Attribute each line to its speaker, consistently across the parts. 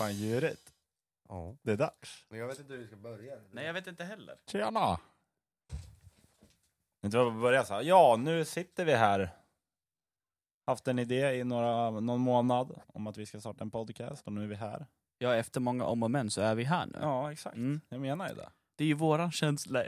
Speaker 1: odjuret.
Speaker 2: Ja.
Speaker 1: Det är dags.
Speaker 2: Men jag vet inte hur vi ska börja.
Speaker 3: Nej, jag vet inte heller.
Speaker 1: Tjena! Inte vad vi börjar så här. Ja, nu sitter vi här. Haft en idé i några, någon månad om att vi ska starta en podcast och nu är vi här.
Speaker 3: Ja, efter många om och men så är vi här nu.
Speaker 1: Ja, exakt.
Speaker 3: Mm.
Speaker 1: Jag menar ju det.
Speaker 3: Det är ju våran känsla.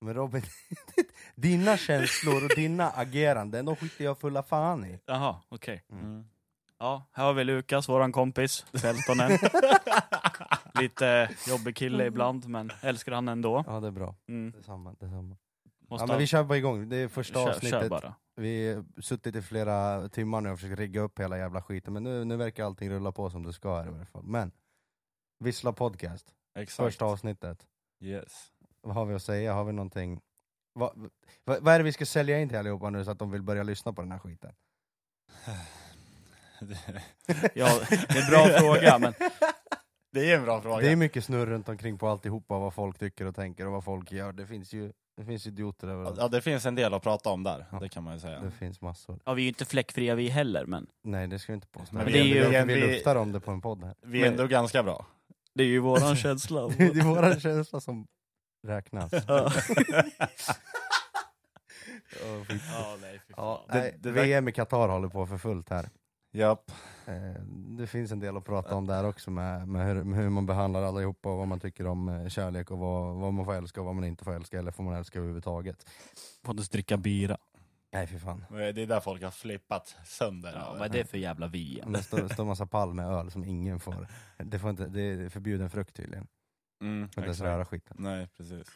Speaker 2: Men Robin, dina känslor och dina ageranden, de skiter jag fulla fan i.
Speaker 3: Jaha, okej.
Speaker 1: Mm.
Speaker 3: Ja, här har vi Lukas, våran kompis, 15 än. Lite jobbig kille ibland, men älskar han ändå.
Speaker 2: Ja, det är bra.
Speaker 3: Mm.
Speaker 2: Detsamma, detsamma.
Speaker 3: Måste
Speaker 2: Ja, men
Speaker 3: ha-
Speaker 2: vi kör bara igång. Det är första
Speaker 3: kör,
Speaker 2: avsnittet.
Speaker 3: kör bara.
Speaker 2: Vi har suttit i flera timmar nu och försökt rigga upp hela jävla skiten, men nu, nu verkar allting rulla på som det ska här i alla fall. Men, Vissla podcast,
Speaker 1: Exakt.
Speaker 2: första avsnittet.
Speaker 1: Yes.
Speaker 2: Vad har vi att säga? Har vi någonting? Vad, vad, vad är det vi ska sälja in till allihopa nu så att de vill börja lyssna på den här skiten?
Speaker 3: Ja, det är en bra fråga, men
Speaker 1: Det är en bra fråga.
Speaker 2: Det är mycket snurr runt omkring på alltihopa, vad folk tycker och tänker och vad folk gör. Det finns ju det finns idioter överallt.
Speaker 1: Ja, det finns en del att prata om där.
Speaker 2: Ja.
Speaker 1: Det kan man ju säga.
Speaker 2: Det finns massor.
Speaker 3: ja, vi är ju inte fläckfria vi heller, men
Speaker 2: Nej, det ska vi inte påstå.
Speaker 1: Men
Speaker 2: Men
Speaker 3: vi-
Speaker 2: det är ju, vi,
Speaker 1: vi-
Speaker 2: luftar om det på en podd här.
Speaker 1: Vi är ändå ganska bra.
Speaker 3: det är ju våran känsla.
Speaker 2: Det är våra känsla som räknas.
Speaker 3: Ja.
Speaker 2: Ja, fy-
Speaker 3: Ja, nej, fy fan.
Speaker 2: Ja,
Speaker 1: Det-
Speaker 2: nej,
Speaker 1: det verk-
Speaker 2: VM i Qatar håller på för fullt här.
Speaker 1: Japp.
Speaker 2: Eh, Det finns en del att prata om där också med, med, hur, med hur man behandlar allihopa och vad man tycker om eh, kärlek och vad, vad man får älska och vad man inte får älska eller får man älska överhuvudtaget.
Speaker 3: Pontus dricka bira.
Speaker 2: Nej för fan.
Speaker 1: Eh, Det är där folk har flippat sönder.
Speaker 3: Ja, vad är det för jävla vi?
Speaker 2: Det står, står massa pall med öl som ingen får. Det, får inte, det är förbjuden frukt tydligen.
Speaker 1: Mm,
Speaker 2: Får inte ens
Speaker 1: exakt.
Speaker 2: röra skiten.
Speaker 1: Nej, precis.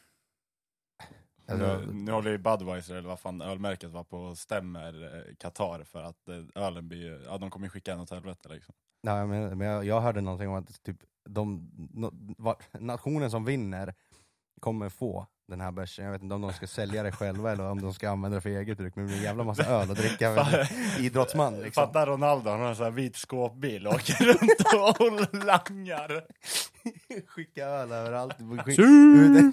Speaker 2: Alltså,
Speaker 1: nu, nu håller ju Budweiser, eller vad fan ölmärket var, på och stämmer eh, Qatar för att eh, ölen blir ju- ja de kommer ju skicka en åt helvete liksom.
Speaker 2: nej, men, men jag, jag hörde någonting om att typ, de, no, va, nationen som vinner kommer få den här bärsen. Jag vet inte om de ska sälja det själva eller om de ska använda det för eget bruk. Men det blir en jävla massa öl att dricka.
Speaker 1: Fan.
Speaker 2: Idrottsman liksom.
Speaker 1: Fattar Ronaldo, han har en sån här vit skåpbil och åker runt och, och langar.
Speaker 2: Skicka öl överallt. Skick,
Speaker 3: Sur!
Speaker 2: Mm.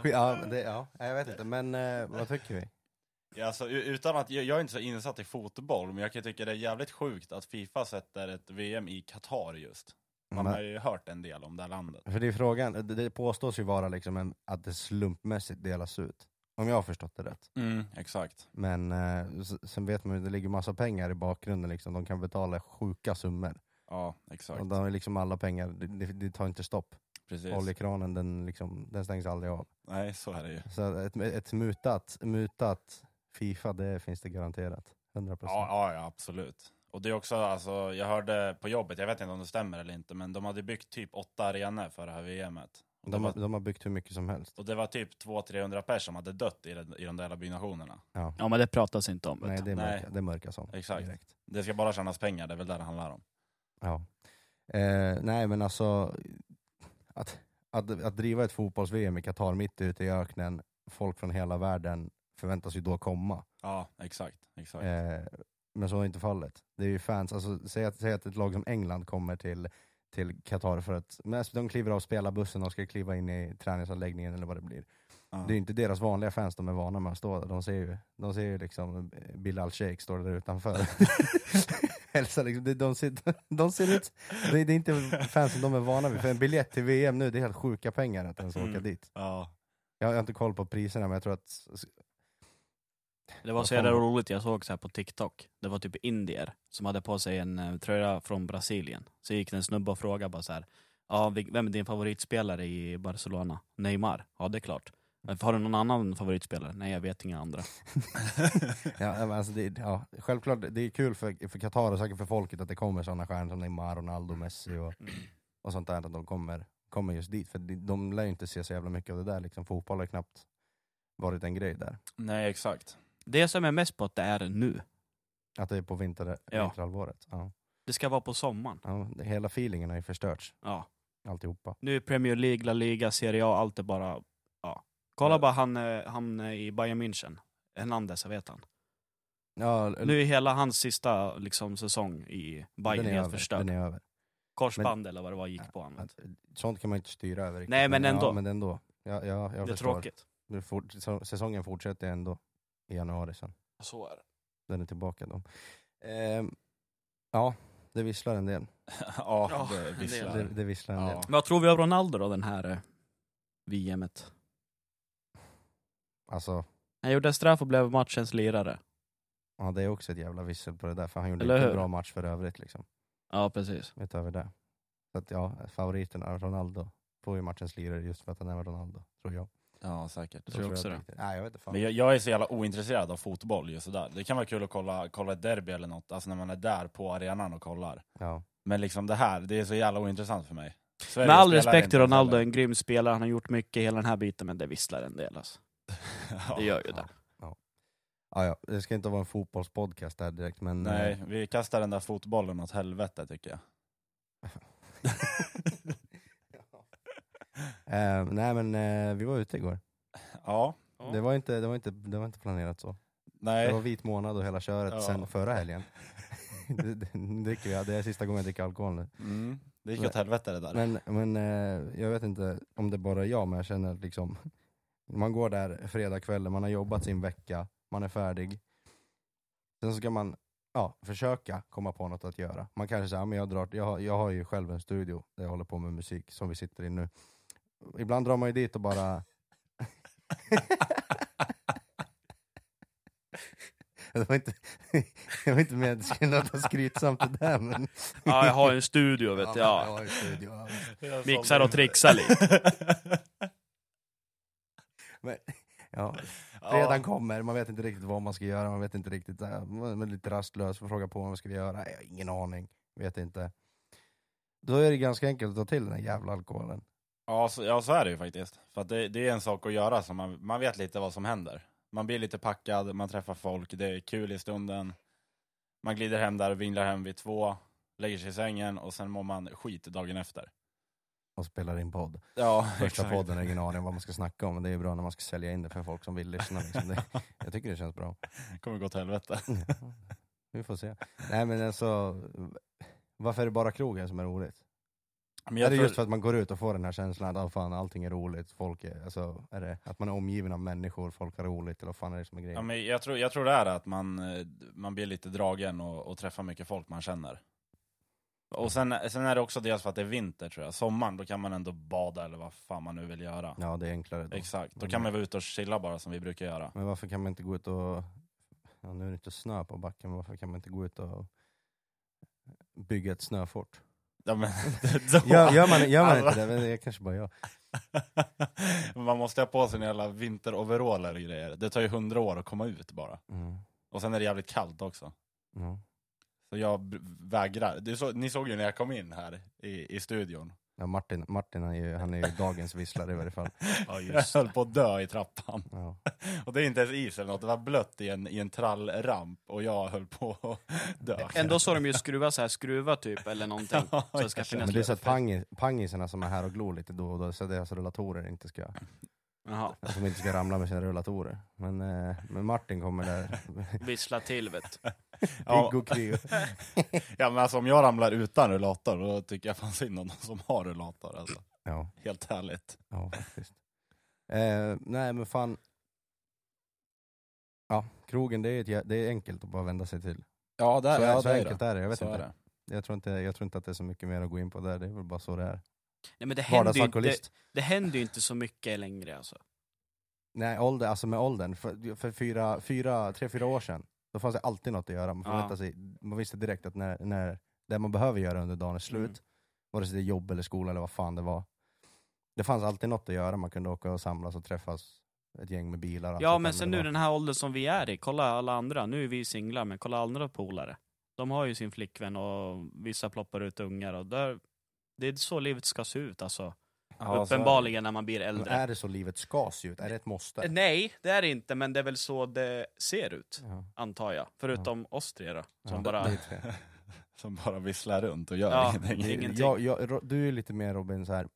Speaker 2: skick, ja, men det, ja, jag vet inte, men eh, vad tycker vi?
Speaker 1: Ja, alltså, u- utan att, jag jag är inte så insatt i fotboll, men jag kan tycka det är jävligt sjukt att Fifa sätter ett VM i Qatar just. Man
Speaker 2: Men-
Speaker 1: har ju hört en del om det här landet.
Speaker 2: För det är frågan, det, det påstås ju vara liksom en, att det slumpmässigt delas ut. Om jag har förstått det rätt.
Speaker 1: exakt.
Speaker 2: Men eh, s- sen vet man ju, det ligger massa pengar i bakgrunden liksom. De kan betala sjuka summor.
Speaker 1: Ja, exakt.
Speaker 2: Och de är liksom alla pengar, det, det, det tar inte stopp.
Speaker 1: Precis.
Speaker 2: Oljekranen den, liksom, den stängs aldrig av.
Speaker 1: Nej, så är det ju.
Speaker 2: Så ett, ett mutat, mutat Fifa, det finns det garanterat. 100%.
Speaker 1: Ja, ja, ja, absolut. Och det är också, alltså, jag hörde på jobbet, jag vet inte om det stämmer eller inte, men de hade byggt typ åtta arenor för det här VMet. Och,
Speaker 2: de,
Speaker 1: det,
Speaker 2: har,
Speaker 1: var,
Speaker 2: de har byggt hur mycket som helst.
Speaker 1: och det var typ 200-300 personer som hade dött i, den, i de där jävla byggnationerna.
Speaker 2: Ja.
Speaker 3: Ja, men det pratas inte om.
Speaker 2: Nej,
Speaker 3: Nej,
Speaker 2: det är
Speaker 1: Nej.
Speaker 2: mörka, Det är mörka sånt.
Speaker 1: Exakt.
Speaker 2: Direkt.
Speaker 1: Det ska bara tjänas pengar, det är väl det det handlar om.
Speaker 2: Ja. Eh, nej men alltså, att, att, att driva ett fotbolls-VM i Qatar mitt ute i öknen, folk från hela världen förväntas ju då komma.
Speaker 1: Ja, exakt. exakt.
Speaker 2: Eh, men så är inte fallet. Det är ju fans, alltså, säg, att, säg att ett lag som England kommer till till Qatar för att, men alltså, de kliver av spelarbussen och ska kliva in i träningsanläggningen eller vad det blir.
Speaker 1: Ja.
Speaker 2: Det är ju inte deras vanliga fans de är vana med att stå där. De ser ju, de ser ju liksom eh, Bilal Sheikh står där utanför. Hälsa liksom, de, de, ser, de ser ut, det, det är inte fansen de är vana vid. För en biljett till VM nu, det är helt sjuka pengar att ens åka
Speaker 1: Mm.
Speaker 2: dit.
Speaker 1: ja.
Speaker 2: Jag har inte koll på priserna men jag tror att,
Speaker 3: det var
Speaker 2: Vad
Speaker 3: så
Speaker 2: fan
Speaker 3: jävla
Speaker 2: var-
Speaker 3: roligt, jag såg så här på TikTok. Det var typ indier som hade på sig en eh, tröja från Brasilien. Så gick det en snubbe och frågade bara så här, ja, vil- vem är din favoritspelare i Barcelona? Neymar? Ja, det är klart. "Men Har du någon annan favoritspelare? Nej, jag vet inga andra.
Speaker 2: ja, men alltså det, ja, självklart det är kul för för Qatar och säkert för folket att det kommer sådana stjärnor som Neymar, Ronaldo, Messi och, och sånt där. Att de kommer, kommer just dit. För de, de lär ju inte se så jävla mycket av det där liksom. Fotboll har knappt varit en grej där.
Speaker 1: Nej, exakt.
Speaker 3: Det som är mest på att det är nu.
Speaker 2: Att det är på vinter,
Speaker 3: Ja.
Speaker 2: vinterhalvåret? Ja.
Speaker 3: Det ska vara på sommaren.
Speaker 2: ja. det- Hela feelingen har ju förstörts,
Speaker 3: Ja.
Speaker 2: alltihopa.
Speaker 3: Nu är Premier League, La Liga, Serie A, allt är bara... Ja. Kolla
Speaker 1: Ja.
Speaker 3: bara han, eh, han eh, i Bayern München. Hernandez, jag vet han.
Speaker 2: Ja, l-
Speaker 3: Nu är hela hans sista liksom, säsong i Bayern
Speaker 2: den är
Speaker 3: helt
Speaker 2: över,
Speaker 3: förstörd.
Speaker 2: Den är över.
Speaker 3: Korsband eller vad det var gick på honom.
Speaker 2: Att- Sånt kan man ju inte styra över riktigt.
Speaker 3: Nej, men ändå.
Speaker 2: Ja, men ändå. Ja, ja, jag
Speaker 3: Det är
Speaker 2: förstår.
Speaker 3: tråkigt.
Speaker 2: Nu fort, så- säsongen fortsätter ändå i januari sen.
Speaker 3: Så är det.
Speaker 2: Den är tillbaka då. Ehm, ja, det visslar en del.
Speaker 1: ja,
Speaker 3: Ja,
Speaker 1: det
Speaker 3: det
Speaker 2: Det,
Speaker 1: visslar.
Speaker 2: det visslar en
Speaker 1: Ja.
Speaker 2: del.
Speaker 3: Men Vad tror vi av Ronaldo då, den här eh, VMet?
Speaker 2: Alltså,
Speaker 3: Han gjorde en straff och blev matchens lirare.
Speaker 2: ja, det är också ett jävla vissel på det där, för han gjorde
Speaker 3: Eller
Speaker 2: inte en
Speaker 3: hur?
Speaker 2: bra match för övrigt liksom.
Speaker 3: Ja, precis.
Speaker 2: Utöver det. Så att ja, favoriten är Ronaldo. Får ju matchens lirare just för att han är Ronaldo, tror jag.
Speaker 1: Ja, säkert.
Speaker 3: Jag tror
Speaker 2: Så
Speaker 3: också
Speaker 2: jag
Speaker 3: det.
Speaker 2: riktigt. Nej, jag vet inte fan.
Speaker 1: Men jag, jag är så jävla ointresserad av fotboll just sådär. Det kan vara kul att kolla, kolla ett derby eller något, alltså när man är där på arenan och kollar.
Speaker 2: Ja.
Speaker 1: Men liksom det här, det är så jävla ointressant för mig. Sverige
Speaker 3: Med all
Speaker 1: spelar
Speaker 3: respekt
Speaker 1: inte
Speaker 3: till
Speaker 1: ens
Speaker 3: Ronaldo,
Speaker 1: heller.
Speaker 3: en grym spelare, han har gjort mycket hela den här biten, men det visslar en del alltså. Det gör ju det.
Speaker 2: Ja, ja. Det ska inte vara en fotbollspodcast där direkt, men... eh,
Speaker 1: Nej, vi kastar den där fotbollen åt helvete tycker jag.
Speaker 2: eh, nej men eh, vi var ute igår.
Speaker 1: Ja,
Speaker 2: Det, var inte, det, var inte, det var inte planerat så. Det var
Speaker 1: nej.
Speaker 2: vit månad och hela köret
Speaker 1: Ja.
Speaker 2: sen förra helgen. det, det, dricker jag. det är sista gången jag dricker alkohol nu.
Speaker 1: Mm. Det gick åt helvete det där.
Speaker 2: Men, men eh, jag vet inte om det bara är jag, men jag känner att liksom, man går där fredagskvällen, man har jobbat sin vecka, man är färdig. Sen så ska man ja, försöka komma på något att göra. Man kanske säger, "Ja, men jag, drar, jag, har- jag har ju själv en studio där jag håller på med musik som vi sitter i nu. Ibland drar man ju dit och bara... Det var inte, jag var inte med att det skulle låta skrytsamt det där men...
Speaker 3: Ja, jag har en studio vet du.
Speaker 2: jag
Speaker 3: Ja.
Speaker 2: har ju studio. ja.
Speaker 3: Mixar och trixar lite.
Speaker 2: Ja,
Speaker 1: Ja.
Speaker 2: Fredagen kommer, man vet inte riktigt vad man ska göra, man vet inte riktigt, äh, man är lite rastlös, man frågar på vad man ska göra, Nej, jag har ingen aning, vet inte. Då är det ganska enkelt att ta till den här jävla alkoholen.
Speaker 1: Ja så, ja, så är det ju faktiskt. För att det, det är en sak att göra, så man, man vet lite vad som händer. Man blir lite packad, man träffar folk, det är kul i stunden. Man glider hem där och vinglar hem vid två, lägger sig i sängen och sen mår man skit dagen efter.
Speaker 2: Och spelar in podd.
Speaker 1: Ja,
Speaker 2: Första podden har ingen aning om vad man ska snacka om, men det är ju bra när man ska sälja in det för folk som vill lyssna. Liksom. Det, jag tycker det känns bra.
Speaker 1: kommer gå till helvete.
Speaker 2: Vi får se. Nej men alltså, varför är det bara krogen som är roligt?
Speaker 1: Men
Speaker 2: Är
Speaker 1: jag
Speaker 2: det
Speaker 1: tror,
Speaker 2: just för att man går ut och får den här känslan att ah, fan, allting är roligt, folk är, alltså, är det att man är omgiven av människor, folk har roligt, eller vad fan är det som är
Speaker 1: ja,
Speaker 2: grejen?
Speaker 1: men jag, tror, jag tror det är att man, eh, man blir lite dragen och, och träffar mycket folk man känner. Och sen, sen är det också dels för att det är vinter tror jag. Sommaren, då kan man ändå bada eller vad fan man nu vill göra.
Speaker 2: Ja, det är enklare då.
Speaker 1: Exakt, då kan man vara ute och chilla bara som vi brukar göra.
Speaker 2: Men varför kan man inte gå ut och, ja, nu är det inte snö på backen, men varför kan man inte gå ut och bygga ett snöfort?
Speaker 1: Ja, men,
Speaker 2: Gör, gör man, gör man
Speaker 1: Alltså.
Speaker 2: inte det? Men det är kanske bara jag.
Speaker 1: man måste ha på sig en jävla vinteroveraller och grejer. Det tar ju hundra år att komma ut bara.
Speaker 2: Mm.
Speaker 1: Och sen är det jävligt kallt också.
Speaker 2: Ja.
Speaker 1: Så jag b- vägrar. Du så, ni såg ju när jag kom in här i, i studion.
Speaker 2: Ja, Martin, Martin han är ju, han är ju dagens visslare i varje fall.
Speaker 3: Ja,
Speaker 1: Jag
Speaker 3: just
Speaker 1: höll
Speaker 3: det.
Speaker 1: på att dö i trappan.
Speaker 2: Ja.
Speaker 1: Och det är inte ens is eller något, det var blött i en, i en trallramp och jag höll på att dö.
Speaker 3: Ändå så har de ju skruvat så här, skruva typ eller någonting.
Speaker 1: Ja,
Speaker 3: Så det ska
Speaker 1: jag
Speaker 3: finnas
Speaker 2: Men det är så att
Speaker 3: luft.
Speaker 2: pangis, pangisarna som är här och glor lite då och då, så deras rullatorer inte ska,
Speaker 3: Jaha,
Speaker 2: som inte ska ramla med sina rullatorer. Men, eh, men Martin kommer där,
Speaker 3: vissla till vet du.
Speaker 1: Ja,
Speaker 2: pigg och kry.
Speaker 1: ja, men alltså, om jag ramlar utan rullator då tycker jag fan synd om de som har rullator. Alltså.
Speaker 2: Ja.
Speaker 1: Helt ärligt.
Speaker 2: Ja, faktiskt. Eh, nej, men fan. Ja, krogen, det är, ett, jä- det är enkelt att bara vända sig till.
Speaker 1: Ja,
Speaker 2: Så,
Speaker 1: där,
Speaker 2: ja, så enkelt är det. Jag, vet
Speaker 1: så är
Speaker 2: inte.
Speaker 1: det.
Speaker 2: Jag, tror inte, jag tror inte att det är så mycket mer att gå in på där, det är väl bara så det är.
Speaker 3: Nej men det händer ju inte,
Speaker 2: Vardagsalkoholist.
Speaker 3: det händer ju inte så mycket längre alltså.
Speaker 2: Nej, ålder, alltså med åldern. För, för fyra, fyra, tre, fyra år sedan, då fanns det alltid något att göra. Man,
Speaker 3: Ja.
Speaker 2: förväntade sig, man visste direkt att när, när det man behöver göra under dagen är slut,
Speaker 3: Mm.
Speaker 2: vare sig det är jobb eller skola eller vad fan det var. Det fanns alltid något att göra, man kunde åka och samlas och träffas ett gäng med bilar. och allt
Speaker 3: Ja
Speaker 2: sånt
Speaker 3: men
Speaker 2: där,
Speaker 3: sen
Speaker 2: det
Speaker 3: nu
Speaker 2: var-
Speaker 3: den här åldern som vi är i, kolla alla andra, nu är vi singlar men kolla andra polare. De har ju sin flickvän och vissa ploppar ut ungar och där, det är så livet ska se ut alltså.
Speaker 1: Ja, så är det.
Speaker 3: Uppenbarligen när man blir
Speaker 2: Men
Speaker 3: äldre.
Speaker 2: är det så livet ska se ut? Är det ett måste?
Speaker 3: Nej, det är det inte, men det är väl så det ser ut,
Speaker 2: Ja.
Speaker 3: antar jag. Förutom oss tre då, som
Speaker 2: Ja,
Speaker 3: bara...
Speaker 2: det är tre.
Speaker 1: Som bara visslar runt och gör
Speaker 3: Ja.
Speaker 1: ingenting.
Speaker 3: Ingenting.
Speaker 2: Jag, jag, Ro- du är lite mer Robin så här.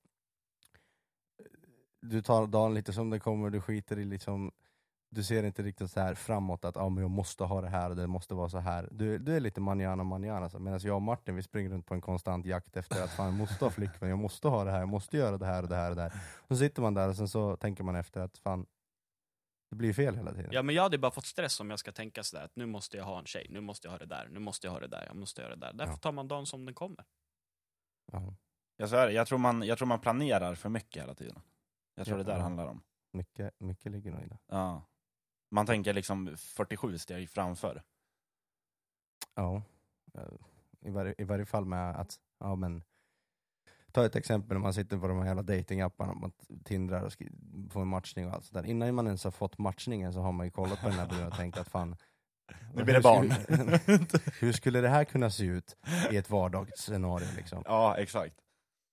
Speaker 2: du tar dagen lite som den kommer, du skiter i liksom, du ser inte riktigt så här framåt att ah, men jag måste ha det här, och det måste vara så här. Du, du är lite manjana manjana, så. medan jag och Martin vi springer runt på en konstant jakt efter att fan, jag måste ha flickvän, jag måste ha det här, jag måste göra det här och det här och det här. Så sitter man där och sen så tänker man efter att fan, Det blir fel hela tiden.
Speaker 3: Ja men jag hade bara fått stress om jag ska tänka sådär att nu måste jag ha en tjej, nu måste jag ha det där, nu måste jag ha det där, jag måste göra det där. Därför
Speaker 2: Ja.
Speaker 3: tar man dagen som den kommer.
Speaker 2: Ja,
Speaker 1: Ja, så är det. Jag, tror man, jag tror man planerar för mycket hela tiden. Jag tror
Speaker 2: Ja.
Speaker 1: det där handlar om.
Speaker 2: mycket, mycket ligger nog i det.
Speaker 1: Ja. Man tänker liksom 47 steg framför.
Speaker 2: Ja. Eh, I varje, I varje fall med att, ja men, ta ett exempel när man sitter på de här jävla datingapparna man tindrar och skri- får en matchning och allt sådär. Innan man ens har fått matchningen så har man ju kollat på den här bilden och tänkt att fan,
Speaker 1: Nu blir det barn.
Speaker 2: Hur skulle, hur skulle det här kunna se ut i ett vardagsscenario liksom?
Speaker 1: ja, exakt.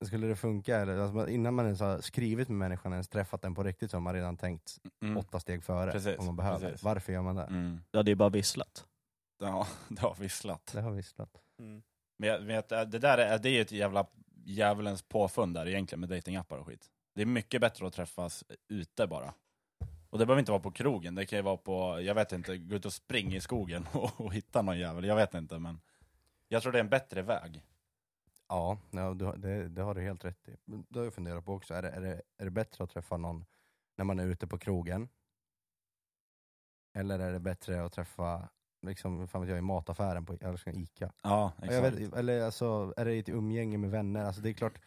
Speaker 2: Skulle det funka? Eller, alltså, man- innan man ens har skrivit med människan, ens träffat den på riktigt, så har man redan tänkt
Speaker 1: Mm.
Speaker 2: åtta steg före
Speaker 1: Precis,
Speaker 2: om man behöver.
Speaker 1: precis.
Speaker 2: Varför gör man det?
Speaker 1: Mm.
Speaker 3: Du hade ju bara visslat.
Speaker 1: Ja, det har visslat.
Speaker 2: Det har visslat.
Speaker 3: Mm.
Speaker 1: Men jag vet, eh, det där är, det är ju ett jävla djävulens påfund där egentligen med datingappar och skit. Det är mycket bättre att träffas ute bara. Och det behöver inte vara på krogen, det kan ju vara på, jag vet inte, gå ut och springa i skogen och, och hitta någon jävel, jag vet inte men. Jag tror det är en bättre väg.
Speaker 2: Ja, ja du, har- det, det har du helt rätt i. Men Det har jag funderat på också. Är det, är, det, är det bättre att träffa någon när man är ute på krogen? Eller är det bättre att träffa, liksom, vad fan vet jag, i mataffären på eller ska jag Ica?
Speaker 1: Ja,
Speaker 2: Ja, Jag vet, eller alltså, är det i ett umgänge med vänner? Alltså det är klart,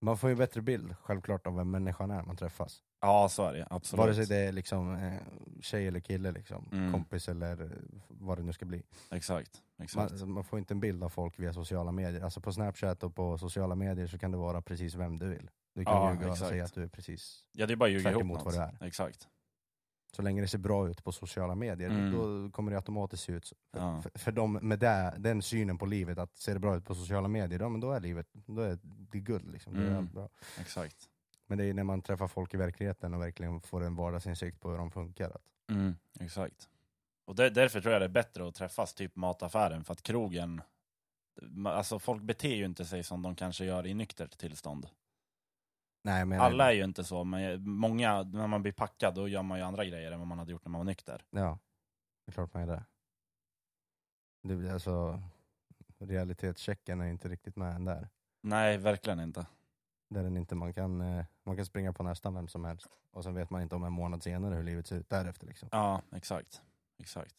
Speaker 2: man får ju en bättre bild självklart av vem människan är när man träffas.
Speaker 1: Ja, så är det absolut.
Speaker 2: Vare sig det är liksom eh, tjej eller kille, liksom,
Speaker 1: Mm.
Speaker 2: kompis eller eh, vad det nu ska bli.
Speaker 1: Exakt, exakt.
Speaker 2: Man, man får inte en bild av folk via sociala medier. Alltså på Snapchat och på sociala medier så kan du vara precis vem du vill. Du kan
Speaker 1: Ja,
Speaker 2: ljuga och
Speaker 1: exakt.
Speaker 2: säga att du är precis,
Speaker 1: ja, det är bara att ljuga
Speaker 2: tvärt
Speaker 1: ihop
Speaker 2: emot
Speaker 1: något.
Speaker 2: vad du är.
Speaker 1: Exakt.
Speaker 2: så länge det ser bra ut på sociala medier,
Speaker 1: Mm.
Speaker 2: då kommer det automatiskt se ut. så. För,
Speaker 1: Ja.
Speaker 2: för, för de med det, den synen på livet, att ser det bra ut på sociala medier, då, men då är livet då är det guld. Liksom. Det är
Speaker 1: Mm.
Speaker 2: bra.
Speaker 1: Exakt.
Speaker 2: Men det är när man träffar folk i verkligheten och verkligen får en vardagsinsikt på hur de funkar. Att,
Speaker 1: Mm, exakt. Och där, därför tror jag det är bättre att träffas typ mataffären, för att krogen, ma- alltså folk beter ju inte sig som de kanske gör i nyktert tillstånd.
Speaker 2: nej, men,
Speaker 1: Alla är ju inte så, men jag- många, när man blir packad då gör man ju andra grejer än vad man hade gjort när man var nykter.
Speaker 2: Ja, det är klart man är det. det blir alltså, realitetschecken är inte riktigt med än där.
Speaker 1: Nej, verkligen inte.
Speaker 2: Där den inte, man, kan, eh, man kan springa på nästan vem som helst och sen vet man inte om en månad senare hur livet ser ut därefter. Liksom.
Speaker 1: Ja, exakt. Exakt.